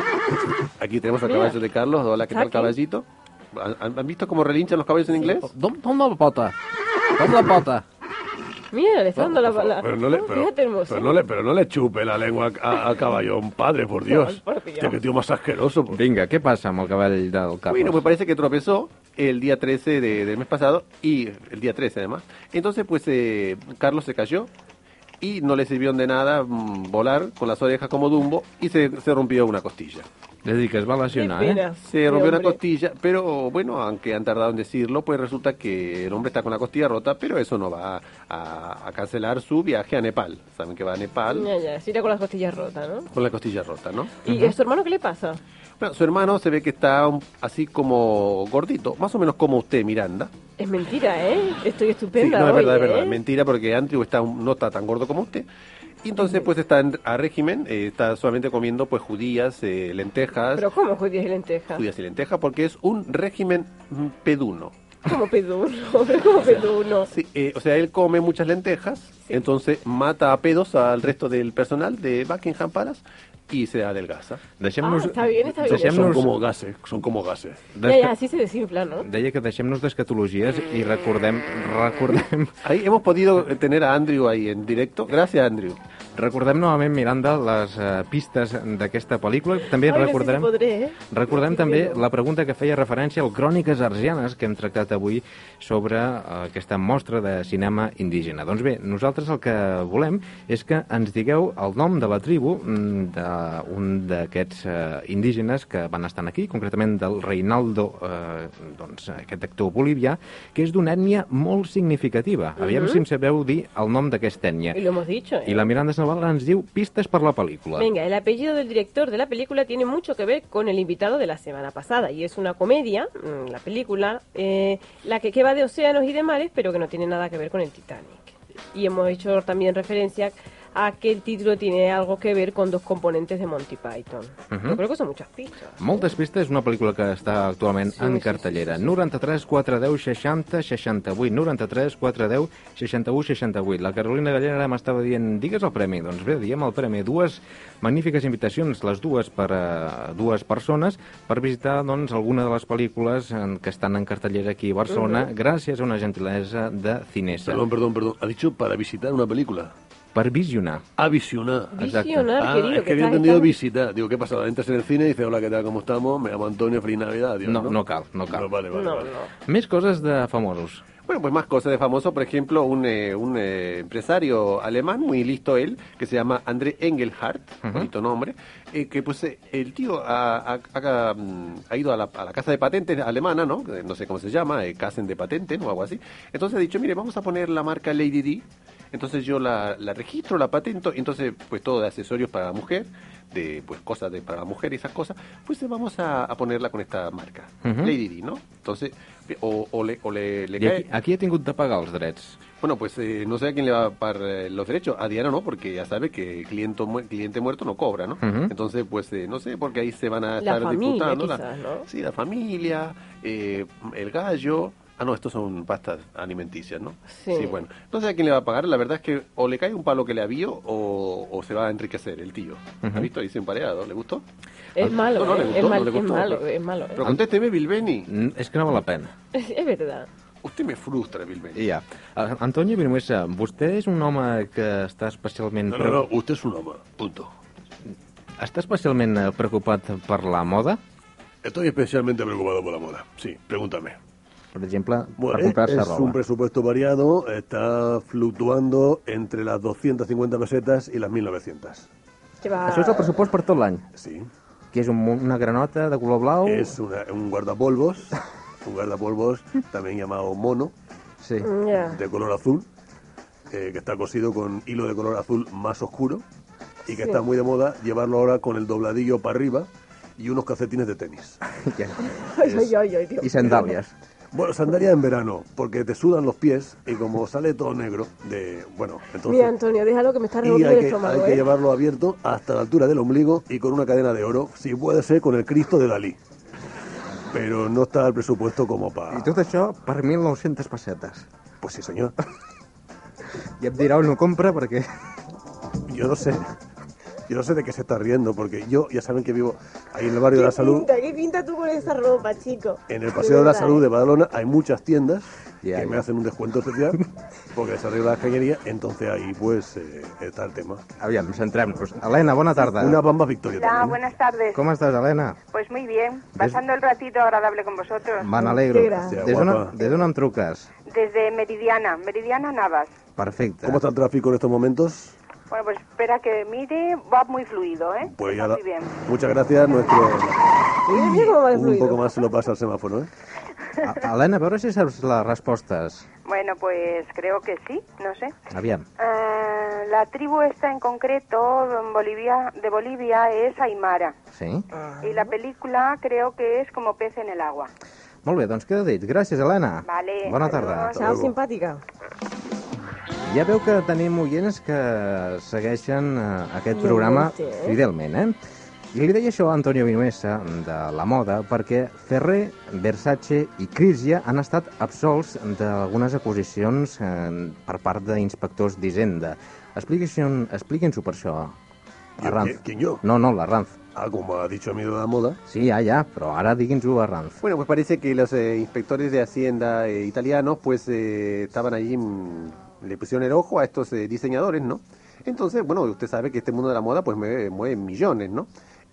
Aquí tenemos al Mira. caballo de Carlos. Hola, ¿qué tal, Aquí. caballito? ¿Han, han- han visto cómo relinchan los caballos en inglés? Dom, dom la pota. Dom la pota. Mira, le está dando la bala. Pero no le, pero, Fíjate, hermoso. pero no le, pero no le chupe la lengua a, a caballón, padre, por Dios. por Dios. Tío, qué tío más asqueroso. por- Oh, Vinga, què passa amb el cavall del Carles? Bueno, pues parece que tropezó el día 13 de- del mes pasado y el día 13 además. Entonces, pues eh, Carlos se cayó y no le sirvió de nada mm, volar con las orejas como Dumbo y se, se rompió una costilla. És a dir, que es va Qué lesionar, eh? pena. Se rompió Hombre, una costilla, pero bueno, aunque han tardado en decirlo, pues resulta que el hombre está con la costilla rota, pero eso no va a, a cancelar su viaje a Nepal. Saben que va a Nepal Ya, ya, se irá con las costillas rotas, ¿no? con la costilla rota, ¿no? ¿Y a su hermano qué le pasa? Bueno, su hermano se ve que está un- así como gordito, más o menos como usted, Miranda. Es mentira, ¿eh? Estoy Sí, estupenda no, es hoy, verdad, es verdad. ¿eh? Mentira, porque Andrew está, un- no está tan gordo como usted. Y entonces, pues está en- a régimen, eh, está solamente comiendo pues judías, eh, lentejas, Pero ¿cómo judías y lentejas? judías y lentejas, porque es un régimen mm, peduno. ¿Cómo peduno? [LAUGHS] Pero ¿Cómo peduno? Sí, eh, o sea, él come muchas lentejas, entonces mata a pedos al resto del personal de Buckingham Palace y se adelgaza. Deixem-nos... Ah, està bien, està bien. Son Deixem-nos... como gases, son como gases. Ya, Desca... ya, así se desinfla, ¿no? Deia que deixem-nos d'escatologies i recordem, recordem, Ahí hemos podido eh, tener a Andrew ahí en directo. Gracias, Andrew. recordem novament, Miranda, les eh, pistes d'aquesta pel·lícula. També Ay, no sé si recordarem... podré, ¿eh? Recordem també Però- la pregunta que feia referència al Cròniques Argianes que hem tractat avui sobre eh, aquesta mostra de cinema indígena. Doncs bé, nosaltres el que volem és que ens digueu el nom de la tribu mm, d'un d'aquests eh, indígenes que van estar aquí, concretament del Reinaldo, eh, doncs, aquest actor bolivià, que és d'una ètnia molt significativa. Aviam Mhm. si em sabeu dir el nom d'aquesta ètnia. Y lo hemos dicho, ¿eh? I la Miranda Savala ens diu pistes per la pel·lícula. Venga, el apellido del director de la película tiene mucho que ver con el invitado de la semana pasada y es una comedia, mm, la película, eh, la que, que va de océanos y de mares, pero que no tiene nada que ver con el Titanic. Y hemos hecho también referencia a que el título tiene algo que ver con dos componentes de Monty Python. Yo creo que son muchas pistas. Moltes pistes, és una pel·lícula que està actualment Sí, en sí, cartellera. 93 410 60 68, 93 410 61 68. La Carolina Gallera m'estava dient, digues el premi. Doncs bé, diem el premi. Dues magnífiques invitacions, les dues per a dues persones, per visitar doncs, alguna de les pel·lícules en, que estan en cartellera aquí a Mhm. Barcelona, gràcies a una gentilesa de Cinesa. Perdón, perdón, perdón. Ha dicho para visitar una película. per visionar. A visionar. Visionar, Exacte. querido, Ah, es que que había estás- entendido estás- visitar. Digo, ¿qué pasa? Entras en el cine y dices, hola, ¿qué tal? ¿Cómo estamos? Me llamo Antonio, feliz Navidad. Digo, No, no cal, no cal. vale, vale, vale. Més coses de famosos. Bueno, pues más cosas de famoso, por ejemplo, un, eh, un eh, empresario alemán, muy listo él, que se llama André Engelhardt, bonito nombre, eh, que pues eh, el tío ha, ha- ha- mm, ha ido a la, a la casa de patentes alemana, ¿no? Eh, No sé cómo se llama, eh, Kassen de Patenten o algo así. Entonces ha dicho, mire, vamos a poner la marca Lady D, entonces yo la, la registro, la patento, y entonces pues todo de accesorios para la mujer, de pues cosas de, para la mujer y esas cosas, pues eh, vamos a, a ponerla con esta marca, Ujú. Lady D, ¿no? Entonces, o, o le, o le- le I cae... aquí, Eh? aquí ha tingut de pagar els drets. Bueno, pues eh, no sé a quién le va a pagar eh, los derechos. A Diana no, porque ya sabe que cliente, mu- cliente muerto no cobra, ¿no? Ujú. Entonces, pues eh, no sé, porque ahí se van a La estar familia, disputando. la- quizás, ¿no? Sí, la familia, eh, el gallo. Ah, no, estos son pastas alimenticias, ¿no? Sí. bueno. No sé a quién le va a pagar. La verdad es que o le cae un palo que le avío o, o se va a enriquecer el tío. ¿Ha visto? Ahí se empareado. ¿Le gustó? Es malo, No, no, ¿eh? le gustó, es, no mal- le es gustó. malo, es malo. ¿eh? Pero contésteme, Bilbeni. Mm, És que no val la pena. [LAUGHS] Es verdad. Usted me frustra, Bilbeni. I ja. Eh, Antonio Vinuesa, vostè és un home que està especialment... No, no, no, usted es un hombre, punto. Està especialment eh, preocupat per la moda? Estoy especialmente preocupado por la moda. Sí, pregúntame. Per exemple, per Bueno, es, comprar-se es un roba. presupuesto variado, está fluctuando entre las 250 pesetas y las 1900. Que va... Això és el pressupost per tot l'any, Sí. que és un, mo- una granota de color blau... Oh. Es una- un guardapolvos, [LAUGHS] un guardapolvos también llamado mono, [LAUGHS] Sí. Ya. de color azul, eh, que está cosido con hilo de color azul más oscuro y que está muy de moda llevarlo ahora con el dobladillo para arriba y unos calcetines de tenis. Ay, ay, ay, ay, Dios. I sandàlies. Bueno, sandalias en verano, porque te sudan los pies y como sale todo negro, de bueno, entonces... Mira, Antonio, déjalo que me está Y revolviendo hay el que, estómago, hay que ¿eh? llevarlo abierto hasta la altura del ombligo y con una cadena de oro, si puede ser con el Cristo de Dalí. Pero no está el presupuesto como para... I tot això per 1.900 pessetes. Pues sí, señor. [LAUGHS] I em dirà on ho compra perquè... [LAUGHS] Yo no sé. Yo no sé de qué se está riendo, porque yo ya saben que vivo ahí en el barrio de la salud. pinta, ¿Qué pinta tú con esa ropa, chico? En el Paseo de la verdad, Salud ¿eh? de Badalona hay muchas tiendas Ya, que me ya. hacen un descuento [LAUGHS] especial porque les arregla la cañería, entonces ahí pues eh, está el tema. Aviam, centrem-nos. Helena, bona tarda. Una bamba victoria Hola, también. ¿eh? buenas tardes. Com estàs, Helena? Pues muy bien, pasando el ratito agradable con vosotros. Me n'alegro. Sí, gràcies. Des d'on Guapa. des d'on em truques? Desde Meridiana, Meridiana Navas. Perfecte. ¿Cómo está el tráfico en estos momentos? Bueno, pues espera que mire, va muy fluido, ¿eh? Pues ya Está la- muy bien. Muchas gracias, nuestro... Mira, mira ¿eh? cómo va el Un fluido. poco más se lo pasa al semáforo, ¿eh? A- Helena, a veure si saps les respostes. Bueno, pues creo que sí, no sé. Aviam. Eh, la tribu esta en concreto en Bolivia, de Bolivia es Aymara. Sí? Y Ah. la película creo que es como pez en el agua. Molt bé, doncs queda dit. Gràcies, Helena. Vale, Bona adiós. tarda. Chao, simpática. Ja veu que tenim oients que segueixen eh, aquest programa Fidelment, eh? fidelment, eh? I li deia això a Antonio Vinuesa, de la moda, perquè Ferrer, Versace i Crisia han estat absolts d'algunes acusacions eh, per part d'inspectors d'Hisenda. Expliquin- Expliquin-s'ho per això, Yo- Arranz. ¿quién- ¿Quién yo? No, no, l'Arranz. Ah, como ha dicho amigo de la moda. Sí, ja, ja, però ara digui'ns-ho a Arranz. Bueno, pues parece que los eh, inspectores de Hacienda eh, italianos, pues eh, estaban allí, mm, le pusieron el ojo a estos eh, diseñadores, ¿no? Entonces, bueno, usted sabe que este mundo de la moda, pues mueve, mueve millones, ¿no?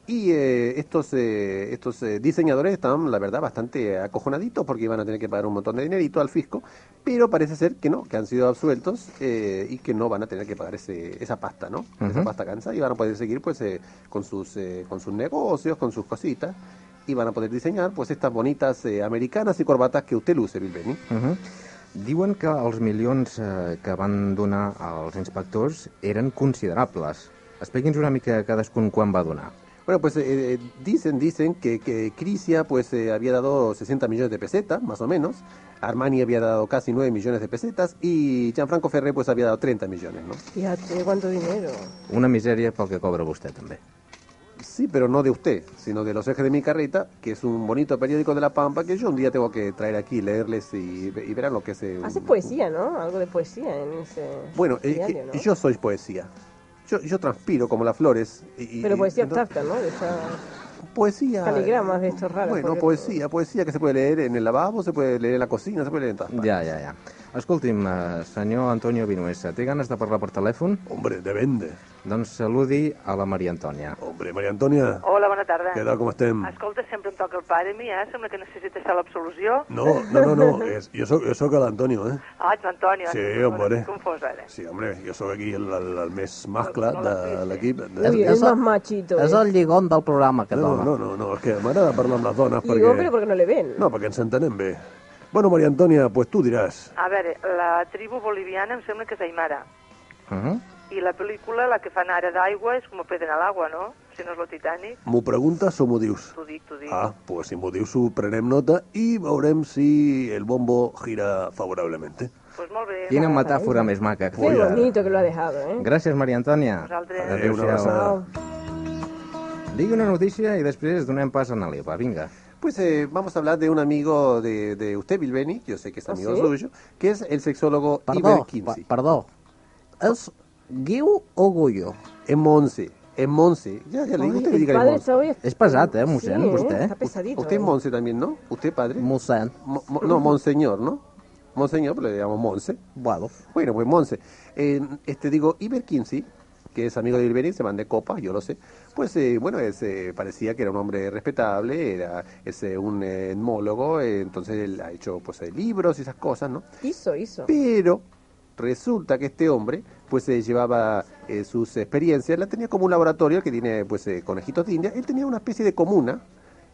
Y eh, estos, eh, estos eh, diseñadores estaban, la verdad, bastante acojonaditos porque iban a tener que pagar un montón de dinerito al fisco, pero parece ser que no, que han sido absueltos eh, y que no van a tener que pagar ese, esa pasta, ¿no? Esa pasta cansa y van a poder seguir pues eh, con, sus, eh, con sus negocios, con sus cositas y van a poder diseñar pues estas bonitas eh, americanas y corbatas que usted luce, Bilbeni. Mhm. Diuen que els milions eh, que van donar als inspectors eren considerables. Expliqui'ns una mica cadascun quan va donar. Bueno, pues eh, eh, dicen, dicen que, que Crisia pues eh, había dado 60 millones de pesetas, más o menos. Armani había dado casi 9 millones de pesetas y Gianfranco Ferré pues había dado 30 millones, ¿no? Fíjate cuánto dinero. Una misèria pel que cobra vostè, també. Sí, pero no de usted, sino de los ejes de mi carreta, que es un bonito periódico de La Pampa que yo un día tengo que traer aquí, leerles y, ve- y verán lo que es... eh, un- Haces poesía, ¿no? Algo de poesía en ese Bueno, eh, diario, ¿no? que yo soy poesía. Yo, yo transpiro como las flores. Y, y- Pero poesía entonces- abstracta, ¿no? De esa- Poesía. eh, Caligramas de estos raros, Bueno, porque- poesía, poesía que se puede leer en el lavabo, se puede leer en la cocina, se puede leer en todas partes. Ja, ja, ja. Escolti'm, eh, senyor Antonio Vinuesa, té ganes de parlar per telèfon? Hombre, depende. Doncs saludi a la Maria Antònia. Hombre, Maria Antònia. Hola, bona tarda. Què tal, com estem? Escolta, sempre em toca el pare a mi, eh? Sembla que necessites fer l'absolució. No, no, no, no. Es, yo, soy, yo soy el Antonio, ¿eh? Ah, ets l'Antonio. Sí, eh? hombre. Estic confosa, ara. Sí, hombre, jo sóc aquí el, el, el més mascle de l'equip. De... Ui, es más machito. És eh. el lligon del programa, aquest ¿eh? No, home. no, no, no, és que m'agrada parlar amb les dones Y digo, perquè... pero porque no le ven. No, perquè ens entenem bé. Bueno, Maria Antònia, pues tu diràs. A veure, la tribu boliviana em sembla que és Aymara. Uh Mhm. -huh. I la pel·lícula, la que fan ara d'aigua, és com pedren a l'aigua, no? Si no és lo Titanic. M'ho preguntes o m'ho dius? T'ho dic, t'ho dic. Ah, pues em si m'ho dius ho prenem nota i veurem si el bombo gira favorablement. Pues molt bé. Quina metàfora més maca. Qué bonito que lo ha dejado, ¿eh? Gràcies, Maria Antònia. Eh, Vosaltres. Adéu, Adéu, una abraçada. Digui una notícia i després donem pas a l'Eva. Vinga. Pues eh, vamos a hablar de un amigo de, de usted, Bilbeni, yo sé que es ¿Ah, amigo sí? suyo, que es el sexólogo Iber Perdó, Kinsey. pa- perdó. És Guiu o Gullo? En Monse, en Monse. Ya, ya le Ay, digo, usted el le diga padre Monse. está hoy- Es pesado, ¿eh, Monse? Sí, ¿eh? Usted, ¿eh? Está pesadito, Usted es ¿eh? Monse también, ¿no? ¿Usted padre? Monsen. no, Monseñor, ¿no? Monseñor, pero le llamamos Monse. Bueno. Bueno, pues Monse. Eh, este digo, Iber Kinsey, que es amigo de Iber se mandé copas, yo lo sé. Pues eh, bueno, es, eh, parecía que era un hombre respetable, era es eh, un eh, etnólogo, eh, entonces él ha hecho pues eh, libros y esas cosas, ¿no? Hizo, hizo. Pero resulta que este hombre pues se llevaba eh, sus experiencias, la tenía como un laboratorio que tiene pues eh, conejitos de India, él tenía una especie de comuna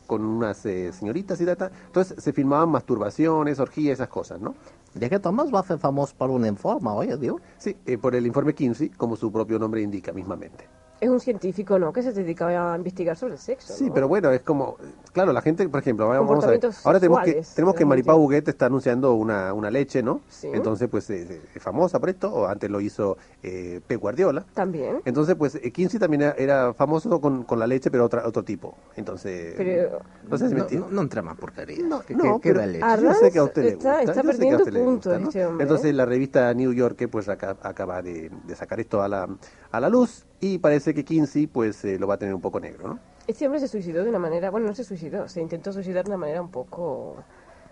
con unas eh, señoritas y tal, entonces se filmaban masturbaciones, orgías, esas cosas, ¿no? I aquest home es va fer famós per un informe, oi, diu? Sí, eh, por el informe Kinsey, como su propio nombre indica mismamente. Es un científico, ¿no? Que se dedicaba a investigar sobre el sexo. Sí, ¿no? pero bueno, es como, claro, la gente, por ejemplo, vamos vamos a ver, Comportamientos ahora tenemos que, sexuales, tenemos que realmente. Maripá Huguet está anunciando una, una leche, ¿no? Sí. Entonces, pues eh, eh, es famosa por esto, o antes lo hizo eh, P. Guardiola. También. Entonces, pues eh, Kinsey también era, era famoso con, con la leche, pero otra, otro tipo. Entonces, Pero- entonces No- no, entrama porquería. No, Que- no, que- que pero da leche. yo sé que a usted le Está- está gusta. yo sé que a perdiendo usted le puntos ¿no? este hombre, Entonces ¿eh? la revista New Yorker pues aca- acaba de, de sacar esto a la, a la luz y parece que Kinsey pues eh, lo va a tener un poco negro, ¿no? Este hombre se suicidó de una manera, bueno, no se suicidó, se intentó suicidar de una manera un poco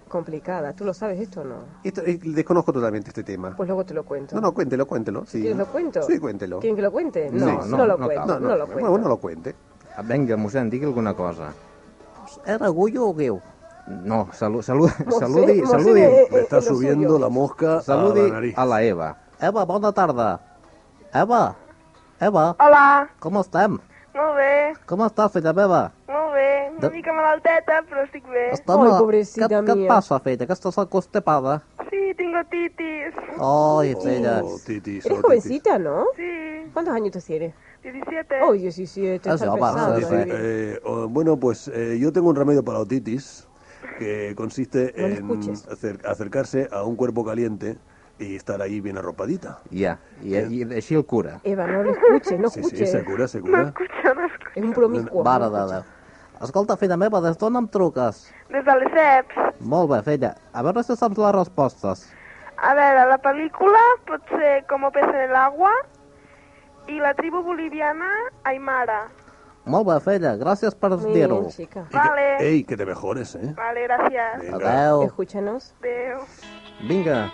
complicada. ¿Tú lo sabes esto o no? Esto, eh, desconozco totalmente este tema. Pues luego te lo cuento. No, no, cuéntelo, cuéntelo. Sí. ¿Quieres lo cuento? Sí, cuéntelo. ¿Quieren que lo cuente? Sí, No, no, lo cuento. No, lo cuento. Bueno, no lo cuente. Vinga, mossèn, digui alguna cosa. Ah. Era Gullo o Guiu? No, salu salu Mossèn- saludi, mossèn, saludi. eh, eh, Me está lo suyo. subiendo la mosca saludi a la nariz. a la Eva. Eva, bona tarda. Eva, Eva, Hola, com estem? molt bé, Com estàs, filla meva? molt bé. Una De- mica malalteta, però estic bé. Estem a- què, Què et passa, filla? Que estàs acostepada? Sí, tinc titis. Ai, filla. Oh, Eres jovencita, ¿no? Sí. ¿Cuántos años tú tienes? 17. Oh, 17. Ah, sí, está va, pesado, sí, sí. ¿eh? Eh, o- bueno, pues eh, yo tengo un remedio para otitis que consiste No lo en escuches. acer- acercarse a un cuerpo caliente y estar ahí bien arropadita. Ja, i, i així el cura. Eva, no lo escuches, no Sí, escuches. sí, se cura, se cura. Es un promiscuo. Mare de Déu. Escolta, filla meva, des d'on em truques? Des de les 7. Molt bé, filla. A veure si saps les respostes. A veure, la pel·lícula pot ser Com pesa el agua i la tribu boliviana Aymara. Molt bé, filla. Gràcies per dir-ho. Vale, Ey, que te mejores, ¿eh? vale, gràcies. Adeu. Escúchanos. Adéu. Vinga.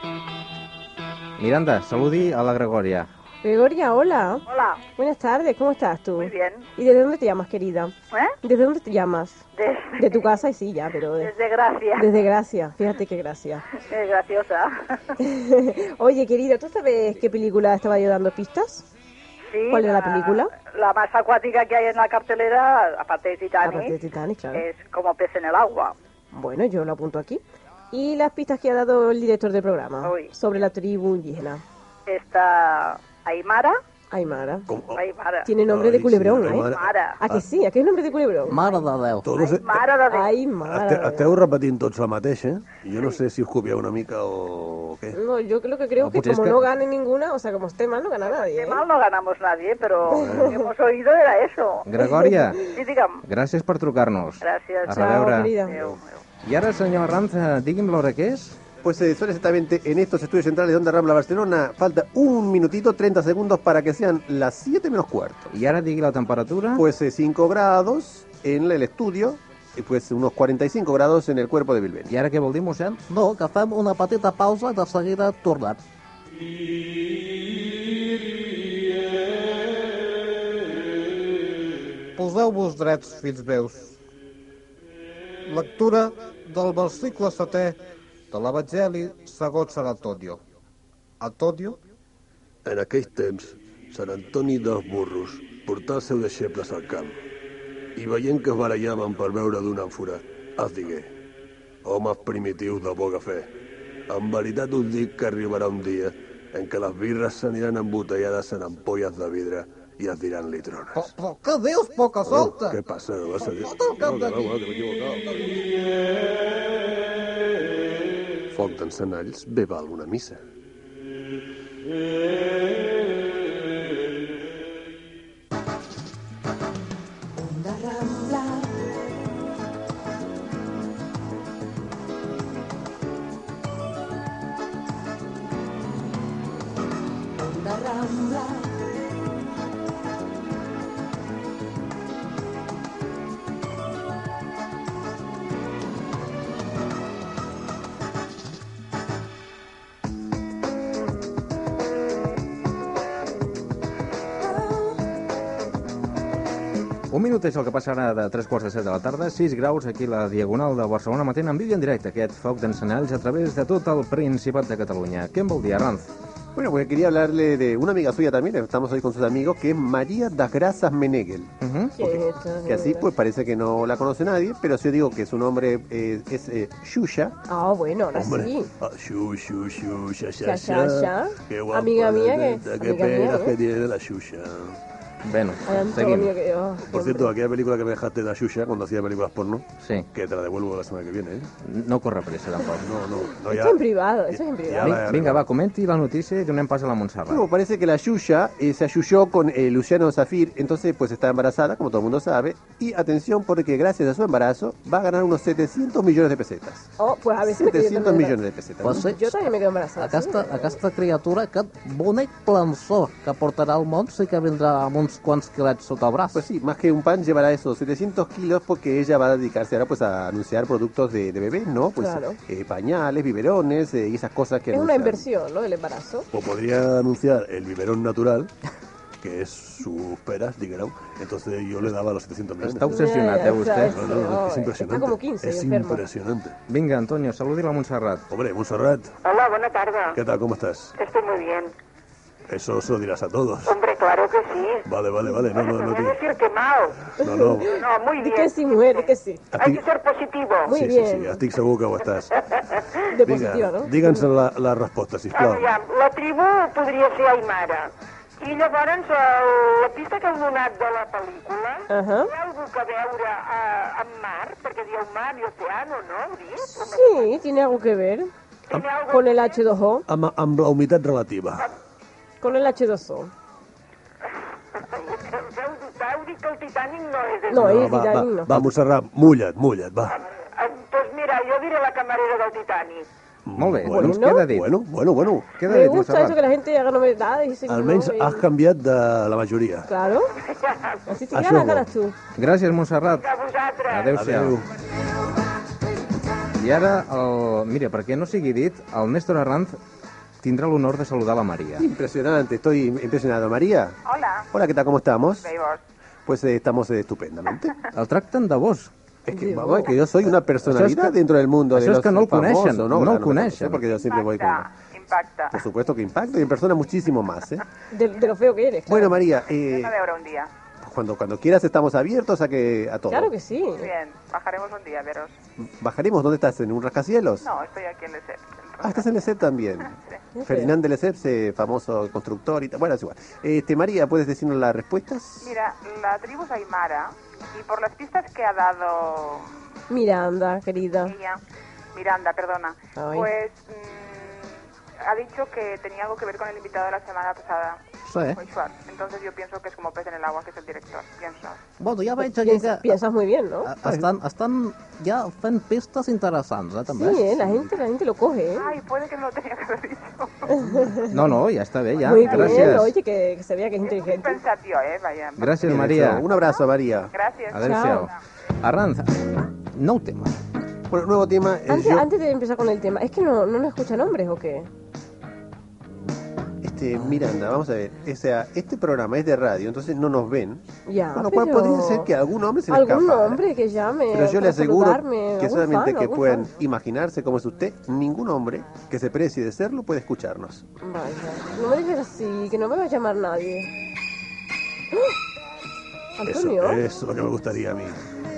Miranda, saludi a la Gregòria. Gregoria, hola. Hola. Buenas tardes, ¿cómo estás tú? Muy bien. ¿Y desde dónde te llamas, querida? ¿Eh? ¿Desde dónde te llamas? Desde- De tu casa, y sí, ya, pero... de- Desde Gracia. Desde Gracia, fíjate qué gracia. Es graciosa. [LAUGHS] Oye, querida, ¿tú sabes qué película estaba yo dando pistas? Sí, ¿Cuál era la película? La más acuática que hay en la cartelera, aparte de Titanic, Aparte de Titanic, claro. es como pez en el agua. Bueno, yo lo apunto aquí. Y las pistas que ha dado el director del programa sobre la tribu indígena, Está Aymara. Aymara. Aymara. Tiene nombre de culebrón, ¿eh? Aymara. ¿A que sí? ¿A qué es nombre de culebrón? Mare de Déu. Todos, eh, Aymara. este- esteu repetint tots la mateixa, eh? Jo no sé si us copieu una mica o què. No, yo creo que creo Ah, que pues es como que- no gane ninguna, o sea, como esté mal, no gana nadie. ¿eh? Mal no ganamos nadie, pero [LAUGHS] lo que hemos oído era eso. Gregoria. Sí, digamos. Gràcies per trucar-nos. Gracias. A reveure. Adeu. I ara, senyor Arranza, digui'm l'hora que és. Pues eh, son exactamente en estos estudios centrales de Onda Rambla Barcelona. Falta un minutito, 30 segundos para que sean las 7 menos cuarto. I ara digui la temperatura. Pues eh, 5 grados en el estudio, pues, unos 45 grados en el cuerpo de Bilbao. I ara què vol dir, mossèn? No, que fem una petita pausa i de seguida tornem. Poseu-vos drets, fills meus. Lectura del versicle setè de l'Evangeli segons Sant Antonio. Antonio? En aquells temps, Sant Antoni dels Burros portà els seus deixebles al camp i veient que es barallaven per veure d'una àmfora, es digué «Homes primitius de poca fe, en veritat us dic que arribarà un dia en què les birres s'aniran embotellades en ampolles de vidre i es diran litrones». Però, Oh, però què dius, poca solta? Què passa? No vas a dir? Tot el cap No, que va, que m'he equivocat. Foc d'encenalls bé va alguna missa. Un minut és el que passarà de 3 quarts de 7 de la tarda, 6 graus aquí a la Diagonal de Barcelona matent en vídeo en directe aquest foc d'encenalls a través de tot el Principat de Catalunya. Què en vol dir, Arranz? Bueno, porque quería hablarle de una amiga suya también, estamos hoy con sus amigos, que es María das Grasas Menegel. Que así pues parece que no la conoce nadie, pero si yo digo que su nombre eh, es eh, Yuya, Ah, bueno, ahora sí. Ah, Xu, xu, xu, xa, Xa, xa, xa, xa. xa. Qué guapa, Amiga mía que- neta, Qué amiga mía, pena ¿eh? que tiene la Xuxa. Bueno, Ay, Antonio, que... oh, Por cierto, aquella película que me dejaste de la Xuxa cuando hacía películas porno, sí. que te la devuelvo la semana que viene, ¿eh? No corre pressa, [LAUGHS] tampoc. No, no, no esto en privado, esto es en privado. Vinga, vinga, va, comenti la notícia i donem pas a la Montserrat. Bueno, parece que la Yuya eh, se ayuyó con eh, Luciano Zafir, entonces pues está embarazada, como todo el mundo sabe, y atención porque gracias a su embarazo va a ganar unos 700 millones de pesetas. Oh, pues a veces me quedo 700 también- millones de pesetas. Pues sí. Yo también me quedo embarazada. Aquesta, aquesta criatura, aquest bonic plançó que portarà al món, sí que vindrà amb uns quants quilets sota el braç. Pues sí, más que un pan llevará esos 700 kilos porque ella va a dedicarse ahora pues a anunciar productos de, de bebés, ¿no? Pues Claro. eh, pañales, biberones eh, y esas cosas que Es una anuncian. inversión, ¿no? El embarazo. O podría anunciar el biberón natural, que es sus peras, dijeron. Entonces yo le daba los 700 millones. Está obsesionat, eh, vostè? No, no, oh, no, es impresionante. es impresionante. Vinga, Antonio, saludi la Montserrat. Hombre, Montserrat, Hola, buena tarde. ¿qué tal? ¿Cómo estás? Estoy muy bien. Eso se lo dirás a todos. Hombre, claro que sí. Vale, vale, vale. No, [LAUGHS] no, no. Voy a tío. decir quemado. No, no. No, muy Di bien. que sí, mujer, di que sí. Hay que ser positivo. Muy sí, bien. sí, sí. A ti segur que ho estàs. De Vinga, positiva, no? digue'ns la, la resposta, sisplau. Aviam, la tribu podria ser Aymara. I llavors, el, la pista que heu donat de la pel·lícula, uh Ahà. -huh. té alguna cosa a veure eh, amb mar? Perquè dieu mar i oceano, no? Heu dit? Sí, tiene algo que ver con el H2O, Amb, amb la humitat relativa. con el H2O. Heu dit, heu dit que el Titanic no és... de- va, va, va, Montserrat, mulla't, mulla't, va. Doncs mira, jo diré la camarera del Titanic. Molt bé, bueno, doncs queda dit. Bueno, bueno, bueno. Me gusta eso que la gente haga novedades y se Almenys innove. has canviat de la majoria. Claro. Así te Això quedan las bo. ganas tú. Gràcies, Montserrat. A vosaltres. Adéu-siau. I ara, el... mira, perquè no sigui dit, el Néstor Arranz tindrà l'honor de saludar la Maria. Impresionante, estoy impresionado. María. Hola. Hola, ¿qué tal? ¿Cómo estamos? Bé, vos. Pues eh, estamos eh, estupendamente. El tracten de vos. Es que, mamá, que yo soy una personalidad Això és que- dentro del mundo de això és los que no el famosos, coneixen, no el Claro, me coneixen. conocen, Porque yo siempre voy con... Impacta. Por supuesto que impacto y en persona muchísimo más, ¿eh? De, de lo feo que eres. Bueno, María, eh, A veure un dia. cuando, cuando quieras estamos abiertos a que a todo. Claro que sí. Muy bien, bajaremos un día a veros. Bajaremos, ¿dónde estás? ¿En un rascacielos? No, estoy aquí en el set. Ah, estás en [LAUGHS] Lesep también. Ferdinand de Lesseps, eh, famoso constructor y tal. Bueno, es igual. Este, María, ¿puedes decirnos las respuestas? Mira, la tribu es Aymara y por las pistas que ha dado Miranda, querida. ella, Miranda, perdona, Ah. Ay. pues mm, ha dicho que tenía algo que ver con el invitado de la semana pasada. Sí. ¿Eh? Roy Schwartz. Entonces yo pienso que es como pez en el agua, que es el director, pienso. Bueno, ja veig aquí que... Piensas, piensas muy bien, Ah, ¿no? Estan, estan ja fent pistes interessants, eh, també. Sí, ¿eh? la gente, la gente lo coge, ¿eh? Ay, puede que no lo tenía que haber dicho. No, no, ja està bé, ja. Muy bien, Gràcies. oye, que, que se vea que es inteligente. Pensatio, eh, vaya. Gràcies, Bien Maria. hecho. Un abrazo, María. Gracias. Adéu-siau. Arranz, Nou tema. Bueno, nuevo tema. eh, Antes, yo- antes de empezar con el tema, ¿es que no, no nos escuchan hombres o qué? Este, Miranda, vamos a ver. O sea, este programa es de radio, entonces no nos ven. Ya, Con lo cual pero- podría ser que algún hombre se le Algún escapara. hombre que llame. Pero yo para le aseguro saludarme, que algún solamente fan, que algún puedan fan. imaginarse cómo es usted, ningún hombre que se precie de serlo puede escucharnos. Vaya, no me dejes así, que no me va a llamar nadie. ¡Ah! Eso, eh. Antonio, eso que me gustaría a mí.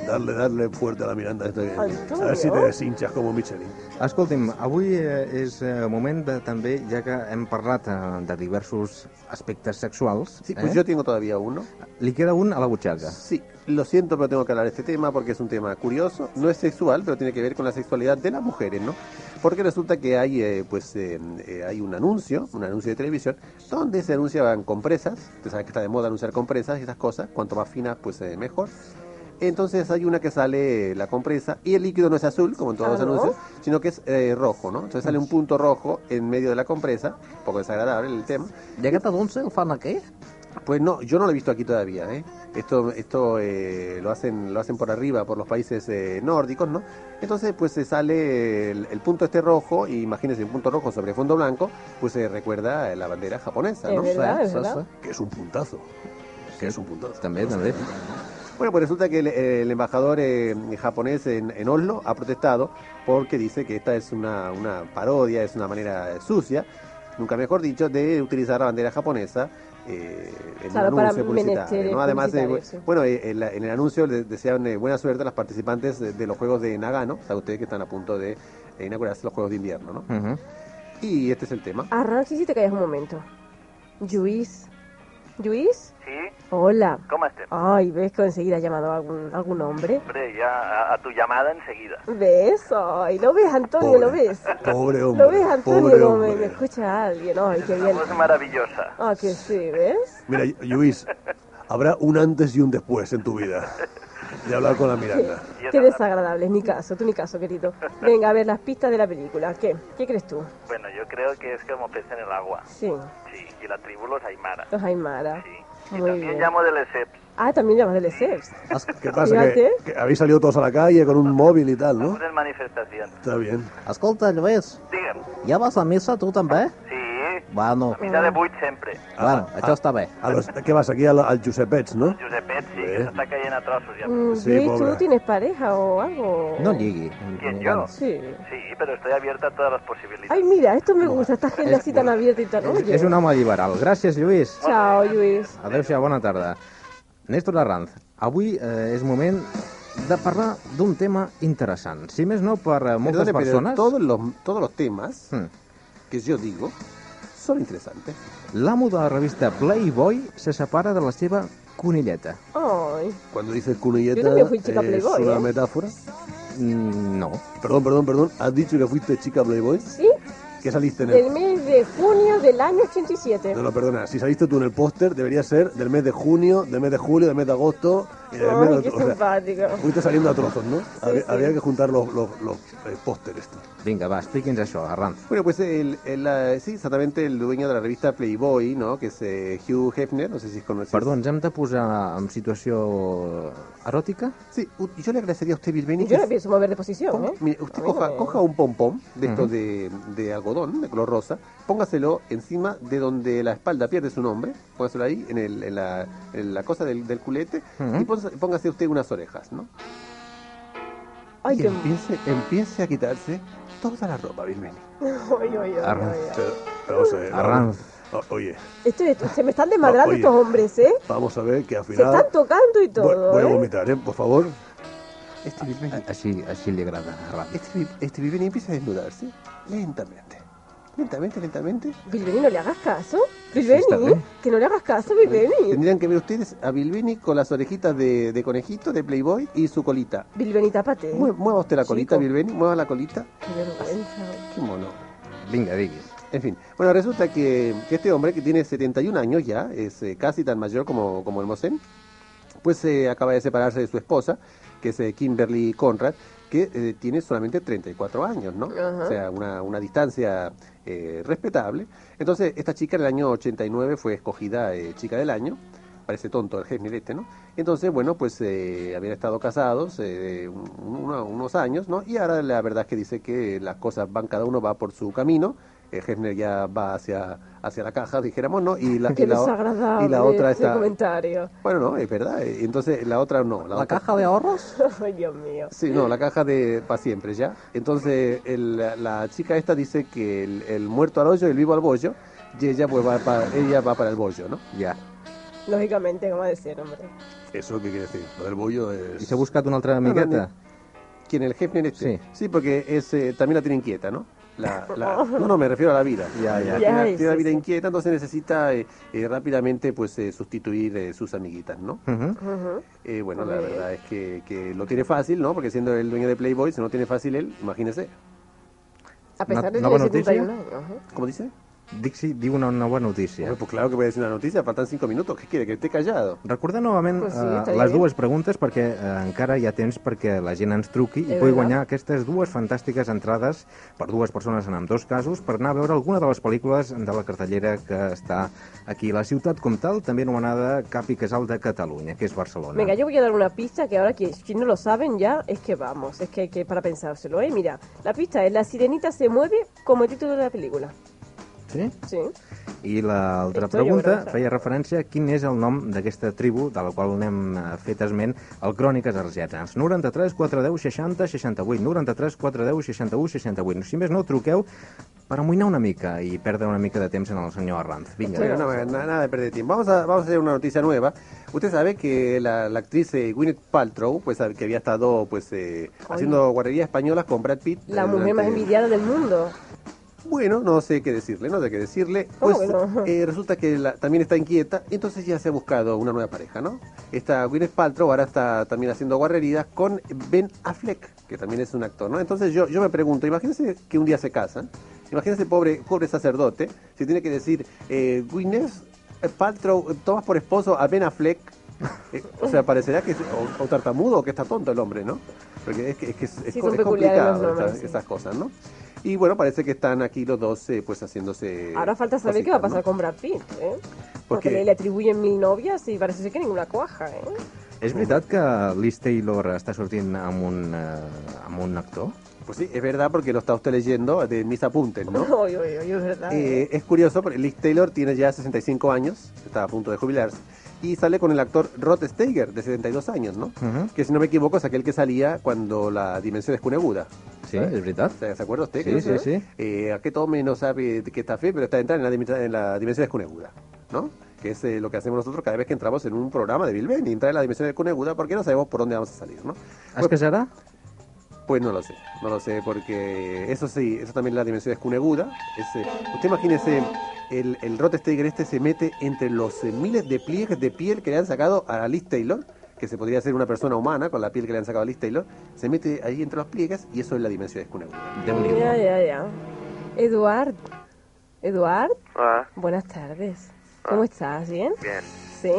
Darle, darle fuerte a la Miranda. Esto este que- Antonio. a ver si te deshinchas como Michelin. Escolti'm, avui eh, és eh, moment de, també, ja que hem parlat eh, de diversos aspectes sexuals... eh, Sí, pues yo tengo todavía uno. Li queda un a la butxaca. Sí, lo siento, pero tengo que hablar de este tema porque es un tema curioso. No es sexual, pero tiene que ver con la sexualidad de las mujeres, ¿no? Porque resulta que hay, eh, pues, eh, eh, hay un anuncio, un anuncio de televisión, donde se anunciaban compresas. Usted sabe que está de moda anunciar compresas y esas cosas. Cuanto más finas, pues eh, mejor. Entonces hay una que sale eh, la compresa y el líquido no es azul, como en todos Claro. los anuncios, sino que es eh, rojo, ¿no? Entonces sale un punto rojo en medio de la compresa, un poco desagradable el tema. ¿De qué te anuncio el fan aquí? Pues no, yo no lo he visto aquí todavía, ¿eh? Esto, esto eh, lo hacen, lo hacen por arriba, por los países eh, nórdicos, ¿no? Entonces, pues se sale el, el punto este rojo, y imagínense un punto rojo sobre fondo blanco, pues se recuerda a la bandera japonesa, Es ¿no? verdad, Sí, es sí, verdad. sí. Que es un puntazo. Que es un puntazo. També, també. Bueno, pues resulta que el, el embajador eh, japonés en, en Oslo ha protestado porque dice que esta es una, una parodia, es una manera eh, sucia, nunca mejor dicho, de utilizar la bandera japonesa eh, en Claro, un para anuncio publicitario. menesteres ¿no? Además, eh, publicitarios, sí. bueno, eh, en, la- en el anuncio les deseaban eh, buena suerte a las participantes de, de los Juegos de Nagano, o sea, ustedes que están a punto de eh, inaugurarse los Juegos de Invierno, ¿no? Y este es el tema. arranca si te callas un momento. Luis. ¿Luis? Sí, Hola. ¿cómo estás? Ay, ¿ves que enseguida ha llamado algún, algún hombre? Hombre, ya a, a tu llamada enseguida. ¿Ves? Ay, ¿lo ves, Antonio? ¿Lo ves? Pobre hombre. ¿Lo ves, Antonio? pobre Como me, hombre. me escucha alguien. Ay, qué Una bien. voz maravillosa. Ah, que sí, ¿ves? Mira, Luis, habrá un antes y un después en tu vida de hablar con la Miranda. Qué, qué desagradable, ni caso, tú ni caso, querido. Venga, a ver las pistas de la película. ¿Qué? ¿Qué crees tú? Bueno, yo creo que es como pez en el agua. Sí, Sí, y la tribu los Aymara. los Aymara. Y Muy también bien. llamo del ESEP. Ah, también llamas del ESEPS. ¿Qué pasa? Que, que habéis salido todos a la calle con un móvil y tal, ¿no? En manifestación. Está bien. Escolta, Lluís, Digue'm, ja vas a missa tu també? sí, Bueno, a missa de buit sempre. bueno, això està bé. A los, ¿Qué vas aquí? Al, al Giuseppets, ¿no? Josepet sí, que s'està caient a trossos ja. Mm, Sí, Luis, ¿tú pobre. tienes pareja o algo? lligui. ¿Quién, yo? Sí. Sí, pero estoy abierta a todas las posibilidades. Ay, mira, esto me gusta, esta gente es- así tan abierta y tan... Oye. És un home liberal. Gràcies, Lluís. Chao, Luis. Adéu-siau, bona tarda. Néstor Arranz, avui eh, és moment de parlar d'un tema interessant. Si més no, per eh, moltes Perdone, pero persones... Hm. todos los, todos los temas que yo digo son interesantes. L'amo de la revista Playboy se separa de la seva conilleta. Ay. Cuando dices cunilleta, Yo también fui chica eh, Playboy, ¿es una ¿eh? metáfora? Mm, No. Perdón, perdón, perdón. ¿Has dicho que fuiste chica Playboy? Sí, ¿Qué saliste en del el...? mes de junio del año 87. No, no, perdona. Si saliste tú en el póster, debería ser del mes de junio, del mes de julio, del mes de agosto... Y del mes Ay, de- qué o sea, simpático. fuiste saliendo a trozos, ¿no? había, había que juntar los, los, los eh, pósteres. Vinga, va, expliqui'ns això, Arranz. Bueno, pues el, el, eh, sí, exactamente el dueño de la revista Playboy, ¿no? Que es eh, Hugh Hefner, no sé si conoces. Perdó, ens hem de posar en situació eròtica? Sí, u- yo le agradecería a usted, Bilbeni, Yo que no pienso mover de posición, ¿eh? mire, usted A mí coja, no me- coja un pompón de estos de, de algodón, de color rosa, póngaselo encima de donde la espalda pierde su nombre, póngaselo ahí, en, el- en la, en la cosa del, del culete, Ujú. y póngase, póngase usted unas orejas, ¿no? Ay, y qué- empiece, empiece a quitarse toda la ropa, Bilbeni. Ay, ay, ay, ay, ay. Pero- pero vamos a ver, Arranz. vamos- o- Oye, Esto es- se me están desmadrando Ah, Oye. estos hombres, ¿eh? vamos a ver que al Se final... están tocando y Voy, todo, voy a ¿eh? vomitar, ¿eh? Por favor. Este Bilbeni, Així, així li agrada, Arranz. este, Bil- este Bilbeni empieza a desnudarse lentamente. Lentamente, lentamente. Bilbeni, no le hagas caso. Bilbeni, que no le hagas caso, Bilbeni. Tendrían que ver ustedes a Bilbeni con las orejitas de, de conejito, de Playboy y su colita. Bilbeni, tápate. Mue- Mueva usted la colita, Chico. Bilbeni, mueva la colita. Qué vergüenza. Qué mono. Vinga, digui. En fin, bueno, resulta que, que este hombre que tiene 71 años ya, es eh, casi tan mayor como, como el Mosén, pues eh, acaba de separarse de su esposa, que es eh, Kimberly Conrad, que eh, tiene solamente 34 años, ¿no? Ajá. O sea, una, una distancia eh, respetable. Entonces, esta chica en el año 89 fue escogida eh, chica del año parece tonto el Heimlich este, ¿no? Entonces, bueno, pues eh, habían estado casados eh, un- una- unos años, ¿no? Y ahora la verdad es que dice que las cosas van, cada uno va por su camino. Eh, Hefner ya va hacia, hacia la caja, dijéramos, ¿no? Y la, y [LAUGHS] Qué la o- desagradable y la otra este está... comentario. [LAUGHS] Bueno, no, es verdad. eh, Entonces, la otra no. ¿La, otra- ahorros? Ay, Dios mío. Sí, no, la caja de para siempre, ¿ya? Entonces, el- la, la chica esta dice que el, el muerto al hoyo, el vivo al bollo, y ella, pues, va para, ella va para el bollo, ¿no? Ya. Lógicamente, como decir, hombre. ¿Eso qué quiere decir? Lo del bollo es... I s'ha buscat una altra No, no, amigueta? ni- ¿Quién, el Hefner este? Sí. porque es, eh, también la tiene inquieta, ¿no? [LAUGHS] La, la- no, no, me refiero a la vida. Ya, ya. Tiene, la- Ya, tiene sí, la vida inquieta, entonces necesita eh, eh, rápidamente, pues, eh, sustituir eh, sus amiguitas, ¿no? Eh, bueno, la verdad es que, que lo tiene fácil, ¿no? Porque siendo el dueño de Playboy, si no tiene fácil él, imagínese. A pesar de nova tener 71 notícia? años. ¿eh? ¿Cómo dice? Dic si diu una, una bona notícia. Hombre, pues claro que voy a decir una noticia, faltan cinco minutos. ¿Qué quiere? Que esté callado. Recordar novament Pues sí, eh, estaria les bé. dues preguntes perquè eh, encara hi ha temps perquè la gent ens truqui i És pugui veritat. guanyar aquestes dues fantàstiques entrades per dues persones en ambdós casos per anar a veure alguna de les pel·lícules de la cartellera que està aquí. La ciutat com tal, també anomenada Cap i Casal de Catalunya, que és Barcelona. Venga, yo voy a dar una pista que ahora que si no lo saben ya es que vamos, es que hay que para pensárselo, ¿eh? Mira, la pista es La sirenita se mueve como el título de la película. Sí? Sí. I l'altra Estoy pregunta llorosa. feia referència a quin és el nom d'aquesta tribu de la qual n'hem eh, fet esment al Cròniques Argetanes. 93 410 60 68, 93 410 61 68. Si més no, truqueu per amoïnar una mica i perdre una mica de temps en el senyor Arranz. Vinga. eh? Bueno, no, na- nada de perder tiempo. Vamos a, vamos a hacer una noticia nueva. Usted sabe que la, la actriz eh, Gwyneth Paltrow, pues que había estado pues eh, Ay. haciendo guarrerías españolas con Brad Pitt. La eh, mujer más durante- envidiada del mundo. Bueno, no sé qué decirle, no sé qué decirle. ¿Cómo Pues que no? eh, resulta que la- también está inquieta, entonces ya se ha buscado una nueva pareja, ¿no? Esta Gwyneth Paltrow ahora está también haciendo guarrerías con Ben Affleck, que también es un actor, ¿no? Entonces yo, yo me pregunto, imagínense que un día se casan, imagínense pobre, pobre sacerdote, si tiene que decir, eh, Gwyneth eh, Paltrow, tomas por esposo a Ben Affleck, Eh, o sea, parecerá que es o, o tartamudo o que está tonto el hombre, ¿no? Porque es que es, que es, es Sí, co- son es peculiares los complicado nombres, esas- sí. esas cosas, ¿no? Y bueno, parece que están aquí los dos eh, pues haciéndose... ahora falta saber qué va a pasar con Brad Pitt, ¿eh? Porque qué? le, le atribuyen mil novias y parece ser que ninguna cuaja, ¿eh? És veritat que Liz Taylor està sortint amb un, eh, amb un actor? Pues sí, es verdad porque lo está usted leyendo de mis apuntes, ¿no? [LAUGHS] Oy, oy, oy, es verdad. ¿eh? Eh, es curioso porque Liz Taylor tiene ya 65 años, está a punto de jubilarse, y sale con el actor Rod Steiger, de 72 años, ¿no? Mhm. Que si no me equivoco es aquel que salía cuando la dimensión es cuneguda. Sí, és veritat. ¿Se se acuerda usted? Sí, que- sí, sí. Eh, a que tome no sabe de qué está fe, pero está entrando en la, dim- en la dimensión de Cuneguda, ¿no? Que es eh, lo que hacemos nosotros cada vez que entramos en un programa de Bilben y entrar en la dimensión de Cuneguda porque no sabemos por dónde vamos a salir, ¿no? Es casarà? Pues no lo sé, no lo sé, porque eso sí, eso también la dimensión es cuneguda. Ese, usted imagínese, el, el Rotsteiger este se mete entre los eh, miles de pliegues de piel que le han sacado a Liz Taylor, que se podría ser una persona humana con la piel que le han sacado a Liz Taylor, se mete ahí entre los pliegues y eso es la dimensión es cuneguda. Ya, ya, ya. Eduard. Eduard, Ah, buenas tardes. Ah. ¿Cómo estás? ¿Bien? bien, ¿Sí?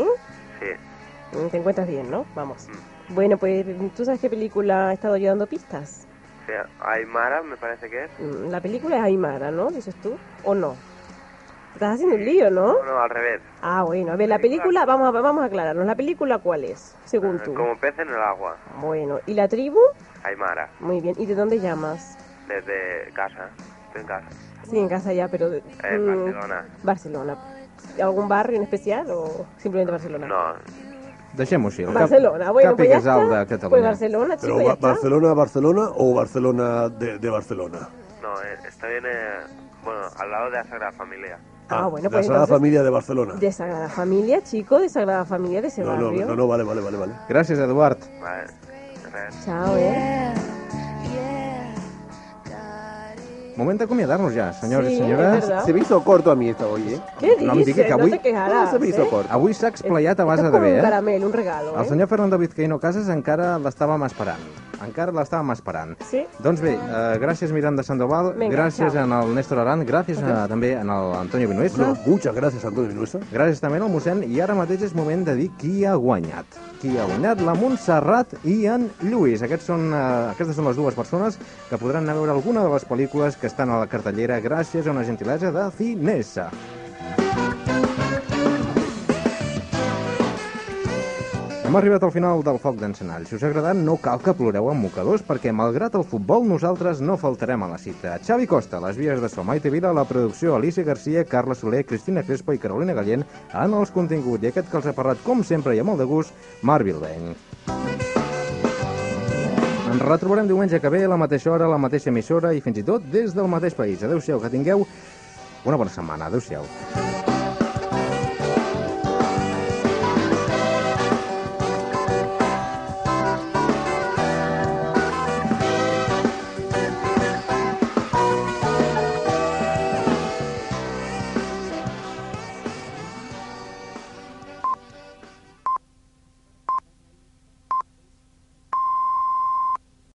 sí. Mm. Mm, Te encuentras bien, ¿no? Vamos. Bueno, pues tú sabes qué película ha estado yo dando pistas. O sea, Aymara me parece que es. Mm, La película es Aymara, ¿no? Dices tú. ¿O no? Te Estás haciendo un lío, ¿no? No, al revés. Ah, bueno. A ver, la película, vamos a, vamos a aclararnos. ¿La película cuál es, según tú? Eh, Como pez en el agua, Bueno, ¿y la tribu? Aymara, Muy bien. ¿Y de dónde llamas? desde casa. Estoy en casa. Sí, en casa ya, pero... de- En mm, Barcelona. Barcelona. ¿Algún barrio en especial o simplemente Barcelona? No. Deixem-ho així. el cap- Barcelona, bueno, cap pues i ya casal está. de Catalunya. Pues Barcelona, chico, ya está. Barcelona, Barcelona o Barcelona de, de Barcelona. No, eh, estoy en. eh, bueno, al lado de la Sagrada Familia. Ah, bueno, la pues Sagrada entonces- Familia de Barcelona. De Sagrada Familia, chico, de Sagrada Familia de ese No, no, barrio. no, no, vale, vale, vale, vale. Gràcies, Eduard. Vale. Chao, eh. Moment d'acomiadar-nos ja, senyors Sí, i és senyores. verdad. Se me hizo corto a mi esta avui, eh? Ah, ¿Qué dices? No em digui que avui... No te quejarás, se me hizo ¿eh? corto. Avui s'ha explayat a base Esto de es bé, como un eh? caramelo, un regalo, El eh. senyor Fernando Vizcaíno Casas encara l'estàvem esperant. Encara l'estàvem esperant. Sí. Doncs bé, eh, gràcies Miranda Sandoval, Vinga, gràcies ciao. en al Néstor Aran, gràcies a, Gràcies. també en el Antonio Vinuesa. No, muchas gràcies, Antonio Vinuesa. Gràcies també al mossèn, i ara mateix és moment de dir qui ha guanyat. Qui ha guanyat? La Montserrat i en Lluís. Aquests són, eh, aquestes són les dues persones que podran anar a veure alguna de les pel·lícules que estan a la cartellera gràcies a una gentilesa de Cinesa. Hem arribat al final del Foc d'Encenall. Si us ha agradat, no cal que ploreu amb mocadors, perquè malgrat el futbol, nosaltres no faltarem a la cita. Xavi Costa, les vies de so, Maite Vila, la producció, Alicia Garcia, Carla Soler, Cristina Crespo i Carolina Gallent en els continguts. I aquest que els ha parlat, com sempre i amb molt de gust, Marc Vildenc. Ens retrobarem diumenge que ve a la mateixa hora, a la mateixa emissora i fins i tot des del mateix país. Adéu-siau, que tingueu una bona setmana. Adéu-siau.